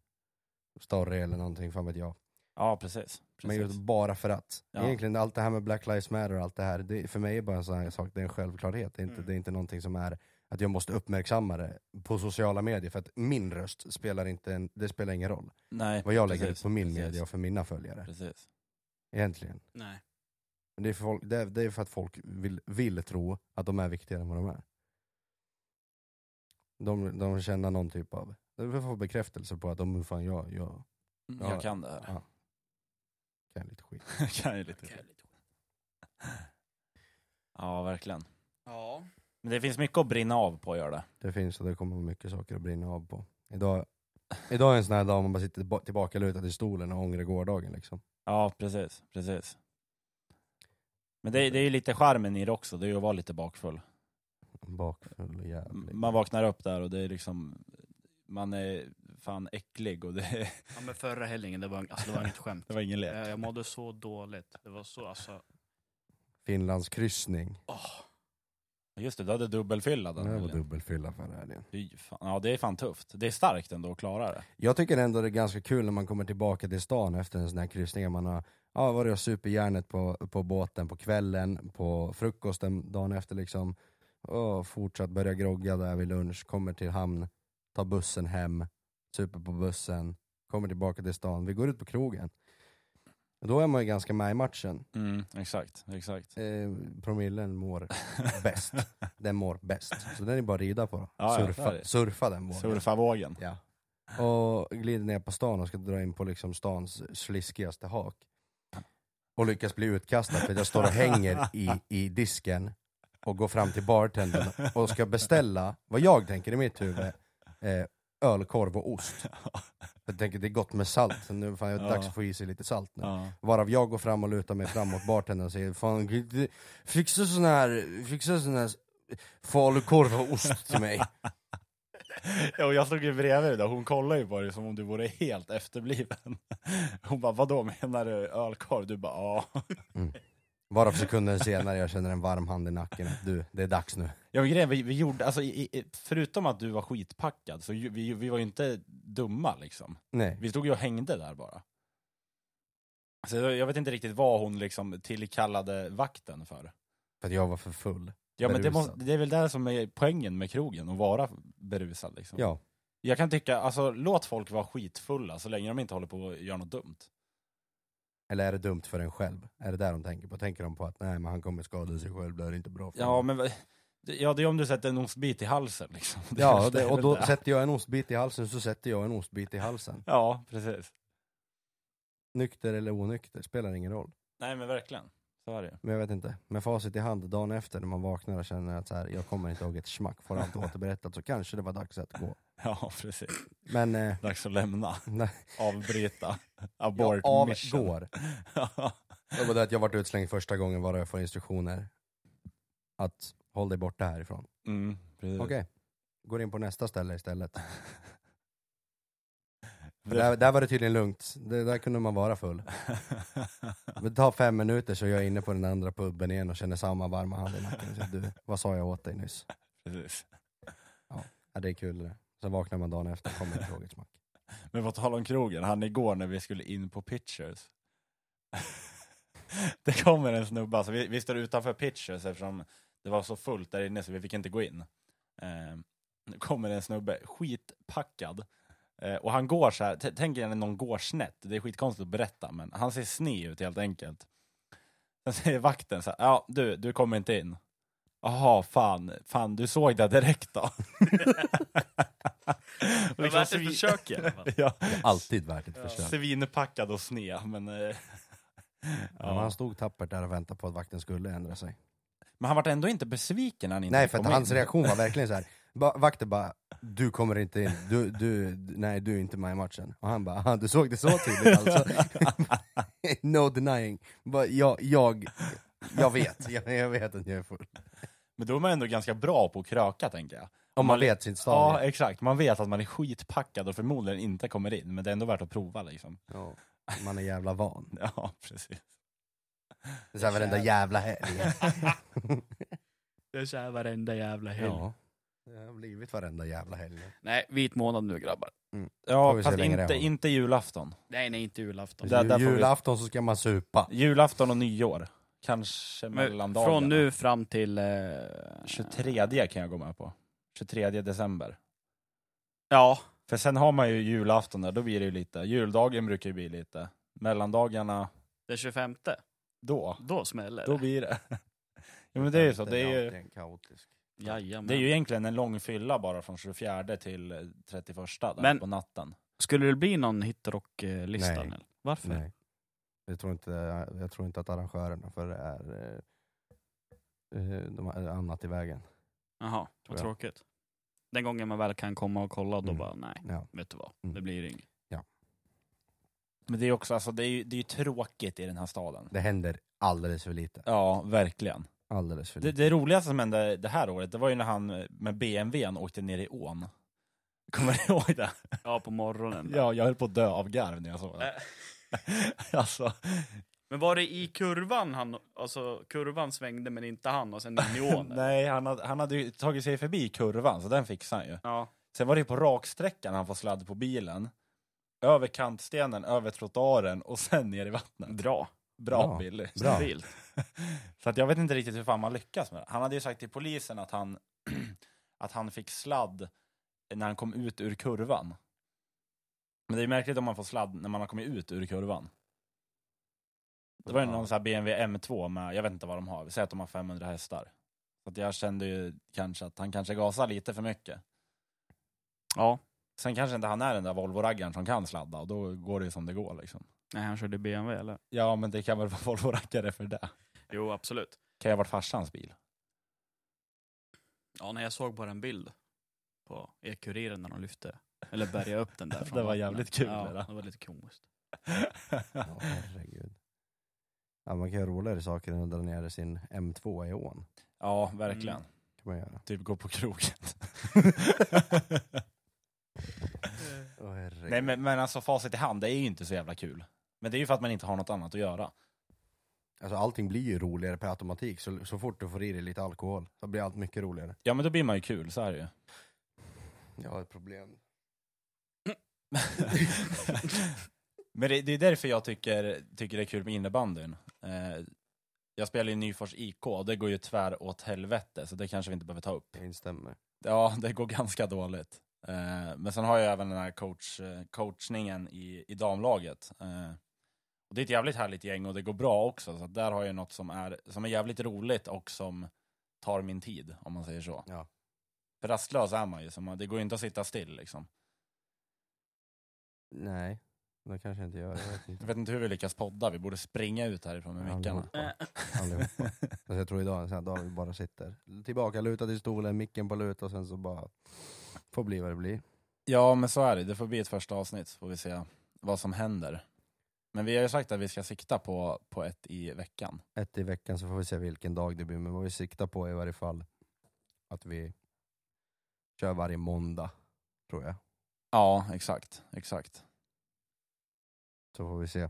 Speaker 2: story eller någonting, fan vet jag.
Speaker 1: Ja, precis.
Speaker 2: Man gör det
Speaker 1: precis.
Speaker 2: bara för att.
Speaker 1: Ja.
Speaker 2: Egentligen allt det här med Black Lives Matter och allt det här, det, för mig är bara en sån här sak, det är en självklarhet. Det är, inte,
Speaker 3: Mm.
Speaker 2: det är inte någonting som är att jag måste uppmärksamma det på sociala medier, för att min röst spelar, inte en, det spelar ingen roll.
Speaker 1: Nej,
Speaker 2: Vad jag lägger
Speaker 1: precis,
Speaker 2: ut på min
Speaker 1: precis,
Speaker 2: media och för mina följare,
Speaker 1: Precis.
Speaker 2: egentligen.
Speaker 3: Nej.
Speaker 2: Men det, är för folk, det, är, det är för att folk vill, vill tro att de är viktigare än vad de är. De, de känner någon typ av, de får bekräftelse på att de, fan jag, jag
Speaker 1: Mm, Jag
Speaker 2: Ja.
Speaker 1: kan det här.
Speaker 2: Ja. kan lite skit.
Speaker 1: Jag kan ju lite. Ja, verkligen.
Speaker 3: Ja.
Speaker 1: Men det finns mycket att brinna av på att göra det.
Speaker 2: Det finns och det kommer mycket saker att brinna av på. Idag, idag är en sån här dag man bara sitter ba- tillbakalutad i stolen och ångrar gårdagen liksom.
Speaker 1: Ja, precis. precis. Men det, det är ju lite charmen i det också, det är ju att vara lite bakfull.
Speaker 2: Bakfull och jävlig.
Speaker 1: Man vaknar upp där och det är liksom, man är fan äcklig och det,
Speaker 3: ja men förra helgen, det var, alltså, det var inget skämt.
Speaker 1: det var ingen lek.
Speaker 3: Eh, Jag mådde så dåligt. Det var så alltså...
Speaker 2: Finlands kryssning.
Speaker 3: åh.
Speaker 1: Just det, du hade dubbelfylla den
Speaker 2: Det var
Speaker 1: helgen.
Speaker 2: dubbelfylla förra helgen.
Speaker 1: Fy fan. Ja, det är fan tufft. Det är starkt ändå att klara det.
Speaker 2: Jag tycker ändå det är ganska kul när man kommer tillbaka till stan efter en sån här kryssning. att Man har ja, varit och super järnet på, på båten på kvällen, på frukosten dagen efter liksom. Och fortsatt börja grogga där vid lunch, kommer till hamn, tar bussen hem, super på bussen, kommer tillbaka till stan. Vi går ut på krogen. Då är man ju ganska med i matchen.
Speaker 1: Mm, exakt, exakt.
Speaker 2: Eh, promillen mår bäst. Den mår bäst. Så den är bara att rida på.
Speaker 1: Ja, ja, så är
Speaker 2: surfa,
Speaker 1: det.
Speaker 2: surfa den vågen.
Speaker 1: Surfa vågen.
Speaker 2: Ja. Och glider ner på stan och ska dra in på liksom stans sliskigaste hak. Och lyckas bli utkastad för att jag står och hänger i, i disken och går fram till bartendern och ska beställa, vad jag tänker i mitt huvud, eh, ölkorv och ost. Jag tänker det är gott med salt, så nu fan, jag är
Speaker 1: Ja.
Speaker 2: dags att få i sig lite salt nu.
Speaker 1: Ja.
Speaker 2: Varav jag går fram och lutar mig framåt bartendern och säger Fan, g- d- fixa sån här, fixa sån här falukorv och ost till mig.
Speaker 1: Ja, och jag stod ju bredvid där, hon kollade ju på dig som om du vore helt efterbliven. Hon bara, vadå menar du ölkorv? Du bara, ja.
Speaker 2: Bara för sekunden senare jag känner en varm hand i nacken. Du, det är dags nu.
Speaker 1: Ja men grejen, vi, vi gjorde, alltså, i, i, förutom att du var skitpackad, så ju, vi, vi var ju inte dumma liksom.
Speaker 2: Nej.
Speaker 1: Vi stod ju och hängde där bara. Så jag jag vet inte riktigt vad hon liksom tillkallade vakten för.
Speaker 2: För att jag var för full.
Speaker 1: Ja men det,
Speaker 2: Berusad.
Speaker 1: måste, det är väl där som är poängen med krogen, att vara berusad liksom.
Speaker 2: Ja.
Speaker 1: Jag kan tycka, alltså låt folk vara skitfulla så länge de inte håller på att göra något dumt.
Speaker 2: Eller är det dumt för en själv? Är det där de tänker på? Tänker de på att nej men han kommer skada sig själv, det här är inte bra för
Speaker 1: Ja,
Speaker 2: honom.
Speaker 1: men vad- ja, det är om du sätter en ostbit i halsen liksom. Det är
Speaker 2: Ja,
Speaker 1: väl-
Speaker 2: det, och
Speaker 1: väl
Speaker 2: då
Speaker 1: det.
Speaker 2: sätter jag en ostbit i halsen så sätter jag en ostbit i halsen.
Speaker 1: Ja, precis.
Speaker 2: Nykter eller onykter, spelar ingen roll.
Speaker 1: Nej men verkligen, så är det ju.
Speaker 2: Men jag vet inte. Med facit i hand, dagen efter när man vaknar och känner att så här, jag kommer inte ihåg ett smack, får allt återberättat så kanske det var dags att gå.
Speaker 1: Ja, precis.
Speaker 2: Men, eh,
Speaker 1: Dags att lämna,
Speaker 2: nej,
Speaker 1: avbryta, abort
Speaker 2: jag avgår.
Speaker 1: mission. Ja.
Speaker 2: Det var det att jag varit utslängd första gången var jag får instruktioner. Att håll dig borta härifrån.
Speaker 1: mm, precis.
Speaker 2: Okej. Går in på nästa ställe istället. För
Speaker 1: Det-
Speaker 2: Där, där var det tydligen lugnt. Det, där kunde man vara full. Det tar fem minuter så är jag inne på den andra puben igen och känner samma varma hand i nacken. Så, du, vad sa jag åt dig nyss?
Speaker 1: precis.
Speaker 2: Ja, det är kul det där. Sen vaknar man dagen efter och kommer inte ihåg ett smack.
Speaker 1: Men på tal om krogen, han igår när vi skulle in på Pitchers. det kommer en snubbe, alltså, vi, vi står utanför Pitchers eftersom det var så fullt där inne så vi fick inte gå in. Eh, nu kommer en snubbe, skitpackad. Eh, och han går så här, t- tänk er när någon går snett, det är skitkonstigt att berätta men han ser sne ut helt enkelt. Sen säger vakten så här, ja du, du kommer inte in. Jaha, fan, fan du såg det direkt då.
Speaker 3: Det var värt ett försök i alla fall.
Speaker 1: ja,
Speaker 2: Alltid värt ett försök.
Speaker 1: Svinpackad och sned, men... Eh,
Speaker 2: Men
Speaker 1: ja.
Speaker 2: han stod tappert där och väntade på att vakten skulle ändra sig.
Speaker 1: Men han var ändå inte besviken när han inte
Speaker 2: Nej, för att
Speaker 1: kom
Speaker 2: hans
Speaker 1: in.
Speaker 2: reaktion var verkligen så här. Ba, vakten bara, du kommer inte in, du, du, du- nej du är inte med i matchen. Och han bara, "Aha, du såg det så tydligt alltså? no denying. Bara, jag, jag, jag vet, jag, jag vet att jag är full.
Speaker 1: Men då är man ändå ganska bra på att kröka tänker jag. man
Speaker 2: Om man vet sin
Speaker 1: Ja,
Speaker 2: stadie.
Speaker 1: exakt. Man vet att man är skitpackad och förmodligen inte kommer in, men det är ändå värt att prova liksom.
Speaker 2: Ja. Man är jävla van.
Speaker 1: Ja, precis.
Speaker 2: Det är så här varenda jävla helg.
Speaker 3: Jag kör varenda jävla helg.
Speaker 2: Ja. Det har blivit varenda jävla helg.
Speaker 3: Nej, vit månad nu grabbar.
Speaker 2: Får
Speaker 1: Ja,
Speaker 2: vi se
Speaker 1: fast
Speaker 2: hur länge det
Speaker 1: inte,
Speaker 2: håller.
Speaker 1: inte julafton.
Speaker 3: Nej, nej inte julafton.
Speaker 1: Där- där får vi-
Speaker 2: Julafton så ska man supa.
Speaker 1: Julafton och nyår. Kanske mellan
Speaker 3: Men
Speaker 1: dagarna.
Speaker 3: från nu fram till... Eh,
Speaker 1: 23 kan jag gå med på. 23 december.
Speaker 3: Ja,
Speaker 1: För sen har man ju julafton där, då blir det ju lite. Juldagen brukar ju bli lite. Mellandagarna,
Speaker 3: den 25.
Speaker 1: då.
Speaker 3: Då smäller
Speaker 1: Då
Speaker 3: det.
Speaker 1: blir det. jo men det är ju så. Det är ju,
Speaker 2: alltid en kaotisk.
Speaker 3: Jajamän.
Speaker 1: det är ju egentligen en lång fylla bara från 24 till 31 där
Speaker 3: Men-
Speaker 1: på natten.
Speaker 3: Skulle det bli någon hit och eh, lista
Speaker 2: Nej.
Speaker 3: nu? Varför?
Speaker 2: Nej. Jag tror inte, jag tror inte att arrangörerna för det är eh, eh, de har annat i vägen.
Speaker 3: Jaha, vad
Speaker 2: jag.
Speaker 3: tråkigt. Den gången man väl kan komma och kolla, då
Speaker 2: Mm.
Speaker 3: bara nej,
Speaker 2: Ja.
Speaker 3: vet du vad,
Speaker 2: Mm.
Speaker 3: det blir inget.
Speaker 1: Men det är också, alltså det är ju det är ju tråkigt i den här staden.
Speaker 2: Det händer alldeles för lite.
Speaker 1: Ja, verkligen.
Speaker 2: Alldeles för
Speaker 1: Det,
Speaker 2: lite.
Speaker 1: det roligaste som hände det här året, det var ju när han med BMWn åkte ner i ån. Kommer du ihåg det?
Speaker 3: Ja, på morgonen.
Speaker 1: Ja, jag höll på att dö av garv när jag såg det.
Speaker 3: Äh.
Speaker 1: Alltså,
Speaker 3: Men var det i kurvan han, alltså kurvan svängde men inte han och sen in i ån? eller?
Speaker 1: nej, han hade, han hade ju tagit sig förbi kurvan, så den fixade han ju.
Speaker 3: Ja,
Speaker 1: Sen var det ju på raksträckan han får sladd på bilen. Över kantstenen, över trottoaren och sen ner i vattnet.
Speaker 3: dra.
Speaker 1: Bra,
Speaker 2: Bra.
Speaker 1: Billy.
Speaker 2: Bra.
Speaker 3: Stabilt.
Speaker 1: Så att jag vet inte riktigt hur fan man lyckas med det. Han hade ju sagt till polisen att han, att han fick sladd när han kom ut ur kurvan. Men det är ju märkligt om man får sladd när man har kommit ut ur kurvan. Det var ju
Speaker 2: Ja.
Speaker 1: någon sån här BMW M2 med, jag vet inte vad de har, säg att de har 500 hästar. Så att jag kände ju kanske att han kanske gasar lite för mycket.
Speaker 3: Ja,
Speaker 1: Sen kanske inte han är den där Volvo-raggaren som kan sladda och då går det ju som det går liksom.
Speaker 3: nej han körde BMW eller?
Speaker 1: Ja men det kan väl vara Volvo-raggare för det.
Speaker 3: Jo, absolut.
Speaker 1: Kan ju ha varit farsans bil.
Speaker 3: Ja, när jag såg bara en bild på E-Kuriren när de lyfte, eller bärgade upp den där. från
Speaker 1: Det var
Speaker 3: vattnet.
Speaker 1: jävligt kul, det
Speaker 3: Ja,
Speaker 1: där.
Speaker 3: det var lite komiskt.
Speaker 2: Ja, herregud. Ja, man kan göra roligare saker än att dra ner sin M2 i ån.
Speaker 1: Ja, verkligen.
Speaker 3: Mm.
Speaker 2: Kan man göra.
Speaker 1: Typ gå på krogen.
Speaker 2: Åh, herregud.
Speaker 1: Nej men, men alltså facit i hand, det är ju inte så jävla kul. Men det är ju för att man inte har något annat att göra.
Speaker 2: Alltså, allting blir ju roligare per automatik, så, så fort du får i dig lite alkohol så blir allt mycket roligare.
Speaker 1: Ja men då blir man ju kul, så är det ju.
Speaker 2: Jag har ett problem.
Speaker 1: men det, det är därför jag tycker, tycker det är kul med innebandyn. Eh, jag spelar ju Nyfors IK och det går ju tvär åt helvete så det kanske vi inte behöver ta upp.
Speaker 2: Jag instämmer.
Speaker 1: Ja, det går ganska dåligt. Eh, men sen har jag även den här coach, eh, coachningen i, i damlaget. Eh, och det är ett jävligt härligt gäng och det går bra också. Så att där har jag något som är, som är jävligt roligt och som tar min tid, om man säger så.
Speaker 2: Ja.
Speaker 1: För rastlös är man ju, så man, det går ju inte att sitta still liksom.
Speaker 2: Nej, det kanske jag inte gör. Jag vet inte.
Speaker 1: Jag vet inte hur vi lyckas podda, vi borde springa ut härifrån med mickarna.
Speaker 2: Allihopa. Allihopa. Alltså jag tror idag är en sån här dag vi bara sitter tillbaka lutad i stolen, micken på lut och sen så bara får bli vad det blir.
Speaker 1: Ja, men så är det. Det får bli ett första avsnitt, så får vi se vad som händer. Men vi har ju sagt att vi ska sikta på, på ett i veckan.
Speaker 2: Ett i veckan så får vi se vilken dag det blir, men vad vi siktar på är i varje fall att vi kör varje måndag, tror jag.
Speaker 1: Ja, exakt. Exakt.
Speaker 2: Så får vi se.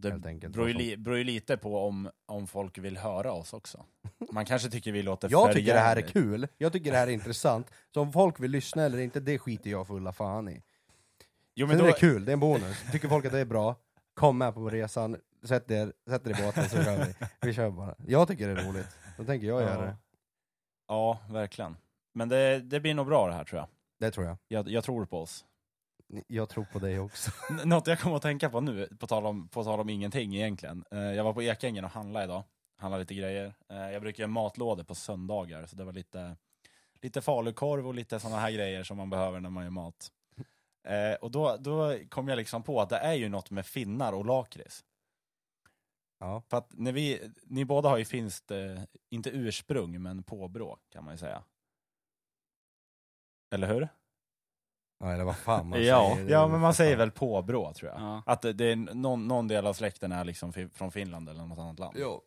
Speaker 1: Det
Speaker 2: Helt enkelt,
Speaker 1: beror ju,
Speaker 2: vad som-
Speaker 1: li, beror ju lite på om, om folk vill höra oss också. Man kanske tycker vi låter
Speaker 2: Jag
Speaker 1: för
Speaker 2: tycker det här är
Speaker 1: jävligt.
Speaker 2: kul, jag tycker det här är intressant. Så om folk vill lyssna eller inte, det skiter jag fulla fan i.
Speaker 1: Jo, men
Speaker 2: Men
Speaker 1: då,
Speaker 2: det är kul, det är en bonus. Tycker folk att det är bra, kom med på resan, sätt er, sätt er i båten så kör vi. Vi kör bara. Jag tycker det är roligt, då tänker jag göra det.
Speaker 1: Ja, verkligen. Men det, det blir nog bra det här tror jag.
Speaker 2: Det tror jag.
Speaker 1: Jag, jag tror på oss.
Speaker 2: Jag tror på dig också.
Speaker 1: N- Något jag kommer att tänka på nu, på tal om, på tal om ingenting egentligen. Eh, jag var på Ekängen och handlade idag. Handlade lite grejer. Eh, jag brukar göra matlådor på söndagar, så det var lite, lite falukorv och lite sådana här grejer som man behöver när man gör mat. Eh, och då, då kom jag liksom på att det är ju något med finnar och lakrits.
Speaker 2: Ja.
Speaker 1: För att när vi, ni båda har ju finskt, eh, inte ursprung, men påbrå kan man ju säga. Eller hur?
Speaker 2: Ja, eller vad fan man
Speaker 3: Ja.
Speaker 2: säger.
Speaker 1: Ja, men man säger väl påbrå tror jag.
Speaker 3: Ja.
Speaker 1: Att det- det är någon, någon del av släkten är liksom fi- från Finland eller något annat land.
Speaker 2: Jo.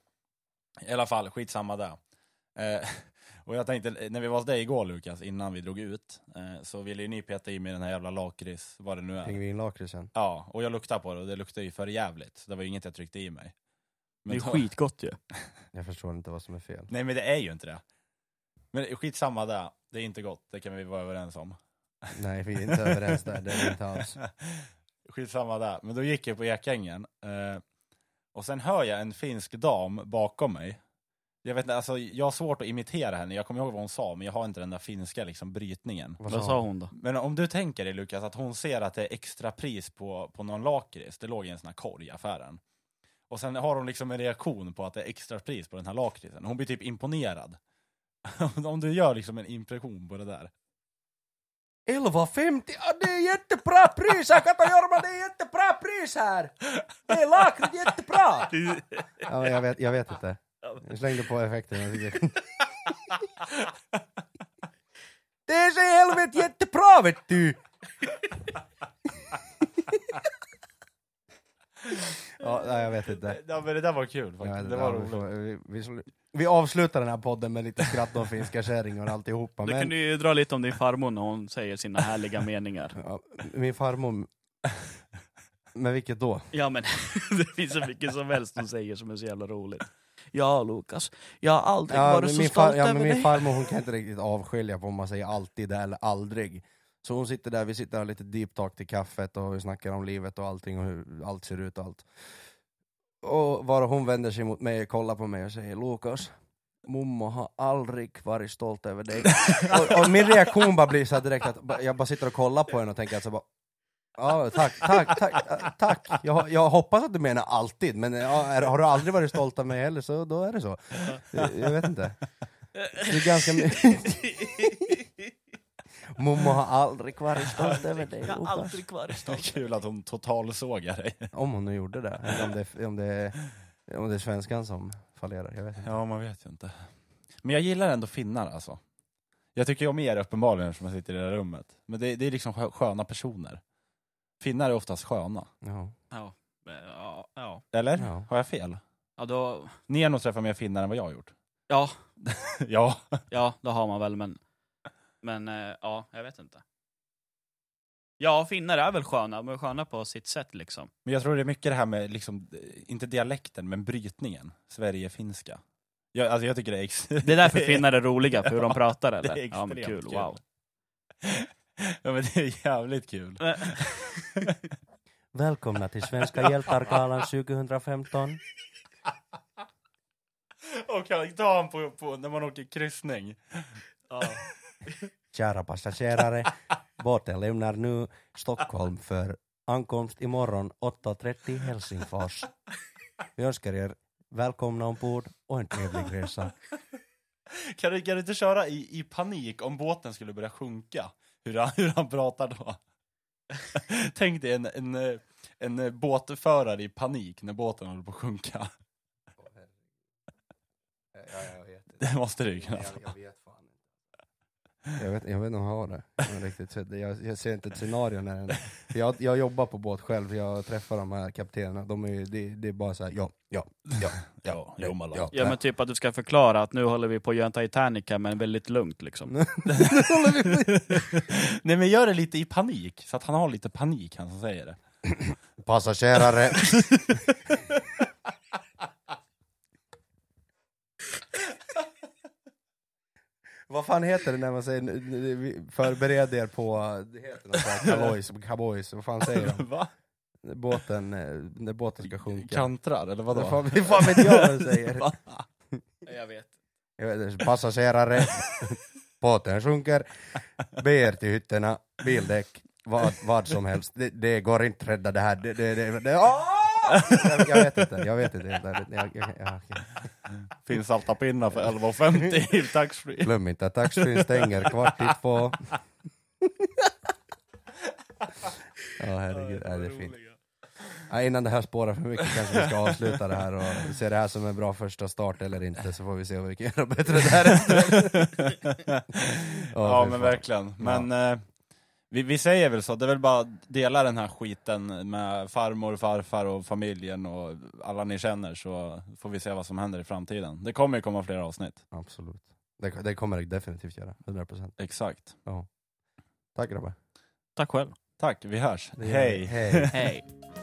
Speaker 1: I alla fall, skitsamma där. Eh, och jag tänkte, när vi var hos dig igår Lukas, innan vi drog ut, eh, så ville ju ni peta i mig den här jävla lakrits, vad det nu är.
Speaker 2: Pingvinlakritsen.
Speaker 1: Ja, och jag luktade på det och det luktade ju för jävligt. Så Det var ju inget jag tryckte i mig.
Speaker 3: Det är
Speaker 1: då-
Speaker 3: skitgott ju.
Speaker 2: Jag förstår inte vad som är fel.
Speaker 1: Nej men det är ju inte det. Men skitsamma där, det är inte gott, det kan vi vara överens om.
Speaker 2: Nej, vi är inte överens där. Det är vi inte alls.
Speaker 1: Skitsamma där. Men då gick jag på Ekängen. Eh, och sen hör jag en finsk dam bakom mig. Jag, vet, inte, alltså, jag har svårt att imitera henne, jag kommer ihåg vad hon sa, men jag har inte den där finska liksom, brytningen.
Speaker 3: Vad sa hon då?
Speaker 1: Men om du tänker dig Lukas, att hon ser att det är extra pris på, på någon lakrits, det låg i en sån här korg i affären. Och sen har hon liksom en reaktion på att det är extra pris på den här lakritsen. Hon blir typ imponerad. om du gör liksom en impression på det där.
Speaker 2: 11,50! Ja, det är jättebra pris här! Kato Jorma, det är jättebra pris här! Det är lakrits, jättebra! Ja, men jag, vet, jag vet inte. Jag slängde på effekten. Jag tycker- det är så i helvete jättebra vet du! ja, nej, jag vet inte.
Speaker 1: Ja men det där var kul
Speaker 2: Jag vet
Speaker 1: faktiskt,
Speaker 2: inte.
Speaker 1: det var
Speaker 2: Ja,
Speaker 1: roligt.
Speaker 2: vi, får- vi, vi, slu- vi avslutar den här podden med lite skratt om finska kärringar och alltihopa.
Speaker 3: Då kan
Speaker 2: Men,
Speaker 3: du ju dra lite om din farmor när hon säger sina härliga meningar.
Speaker 2: ja, min farmor... Men vilket då?
Speaker 3: Ja men det finns så mycket som helst hon säger som är så jävla roligt. Ja Lukas, jag har aldrig
Speaker 2: Ja,
Speaker 3: varit
Speaker 2: men
Speaker 3: så
Speaker 2: min,
Speaker 3: stolt
Speaker 2: far, ja,
Speaker 3: över
Speaker 2: men min
Speaker 3: dig.
Speaker 2: farmor hon kan inte riktigt avskilja på om man säger alltid eller aldrig. Så hon sitter där, vi sitter och har lite deep talk till kaffet och vi snackar om livet och allting och hur allt ser ut och allt. Och bara hon vänder sig mot mig och kollar på mig och säger Lukas, mommo har aldrig varit stolt över dig. och, och min reaktion bara blir så här direkt att ba- jag bara sitter och kollar på henne och tänker alltså bara Ja, tack, tack, tack, äh, tack. Jag, jag hoppas att du menar alltid, men ja, är, har du aldrig varit stolt av mig heller så då är det så. Jag, jag vet inte. Det är ganska mycket. Mommo har aldrig varit stolt över dig,
Speaker 3: Jag har
Speaker 2: Lukas.
Speaker 3: aldrig varit stolt.
Speaker 1: Kul att hon totalsågar dig.
Speaker 2: Om hon nu gjorde det, eller om det, om det, om det är svenskan som fallerar, jag vet inte.
Speaker 1: Ja, man vet ju inte. Men jag gillar ändå finnar alltså. Jag tycker ju om er uppenbarligen som jag sitter i det här rummet. Men det, det är liksom skö- sköna personer. Finnar är oftast sköna.
Speaker 2: Ja.
Speaker 3: Ja, ja, ja.
Speaker 1: Eller?
Speaker 2: Ja.
Speaker 1: Har jag fel?
Speaker 3: Ja, då,
Speaker 1: Ni har nog träffat mer finnar än vad jag har gjort.
Speaker 3: ja,
Speaker 1: Ja.
Speaker 3: ja, då har man väl men... Men eh, ja, jag vet inte. Ja, finnar är väl sköna, men sköna på sitt sätt liksom.
Speaker 1: Men jag tror det är mycket det här med, liksom, eh, inte dialekten, men brytningen. Sverige-finska. Jag, alltså jag tycker det är ex-
Speaker 3: Det är därför finnar är roliga, för hur de
Speaker 1: Ja,
Speaker 3: pratar
Speaker 1: det
Speaker 3: eller?
Speaker 1: är
Speaker 3: ja, men
Speaker 1: extremt
Speaker 3: kul,
Speaker 1: kul.
Speaker 3: wow.
Speaker 1: ja, men det är jävligt kul.
Speaker 3: Eh.
Speaker 2: Välkomna till Svenska hjältargalan 2015.
Speaker 1: Och karaktären på, på när man åker kryssning.
Speaker 3: Ja.
Speaker 2: Kära passagerare, båten lämnar nu Stockholm för ankomst imorgon 8.30 Helsingfors. Vi önskar er välkomna ombord och en trevlig resa.
Speaker 1: Kan du, kan du inte köra i, i panik om båten skulle börja sjunka? Hur han, hur han pratar då? Tänk dig en, en, eh, en eh, båtförare i panik när båten håller på att sjunka. Det måste du ju kunna få.
Speaker 2: Jag vet, jag vet inte om jag har det. Jag, riktigt, sett det. jag, jag ser inte ett scenario. När den, för jag, jag jobbar på båt själv, jag träffar de här kaptenerna. De är, ju- det, det är bara så här, ja, ja, ja,
Speaker 1: Ja, jo, Malan.
Speaker 3: ja, men typ att du ska förklara att nu håller vi på att göra en Titanic här, men väldigt lugnt liksom.
Speaker 1: Nej men gör det lite i panik, så att han har lite panik han som säger det.
Speaker 2: Passagerare, Vad fan heter det när man säger nu- nu- vi- förbered er på, det heter något sånt här, Cowboys, cowboys, vad fan säger de?
Speaker 1: Va?
Speaker 2: Båten, eh, när båten ska sjunka.
Speaker 1: Kantrar eller vadå?
Speaker 2: Vad fan, fan vet jag vad de säger?
Speaker 1: Va?
Speaker 3: Jag vet.
Speaker 2: Jag vet inte, Passagerare, båten sjunker, be er till hytterna, bildäck, vad, vad som helst. Det, det går inte att rädda det här. Det, det, det, det, Åh!
Speaker 1: Ah!
Speaker 2: jag, jag vet inte, jag vet inte. helt ärligt. Jag, jag, jag, jag.
Speaker 1: Finns salta pinnar för 11,50 i taxfree.
Speaker 2: Glöm inte att taxfree stänger kvart i två. Ja herregud, ja, det är fint. Ja, innan det här spårar för mycket kanske vi ska avsluta det här och se det här som en bra första start eller inte så får vi se vad vi kan göra bättre därefter.
Speaker 1: ja
Speaker 2: fy
Speaker 1: men
Speaker 2: fan.
Speaker 1: verkligen. Men eh, vi, vi säger väl så, det är väl bara att dela den här skiten med farmor, farfar och familjen och alla ni känner så får vi se vad som händer i framtiden. Det kommer ju komma fler avsnitt.
Speaker 2: Absolut. Det, det kommer det definitivt göra, 100%.
Speaker 1: Exakt.
Speaker 2: Tack grabbar.
Speaker 3: Tack själv.
Speaker 1: Tack, vi hörs.
Speaker 2: Det gör
Speaker 1: Hej!
Speaker 2: vi. Hej.
Speaker 3: Hej.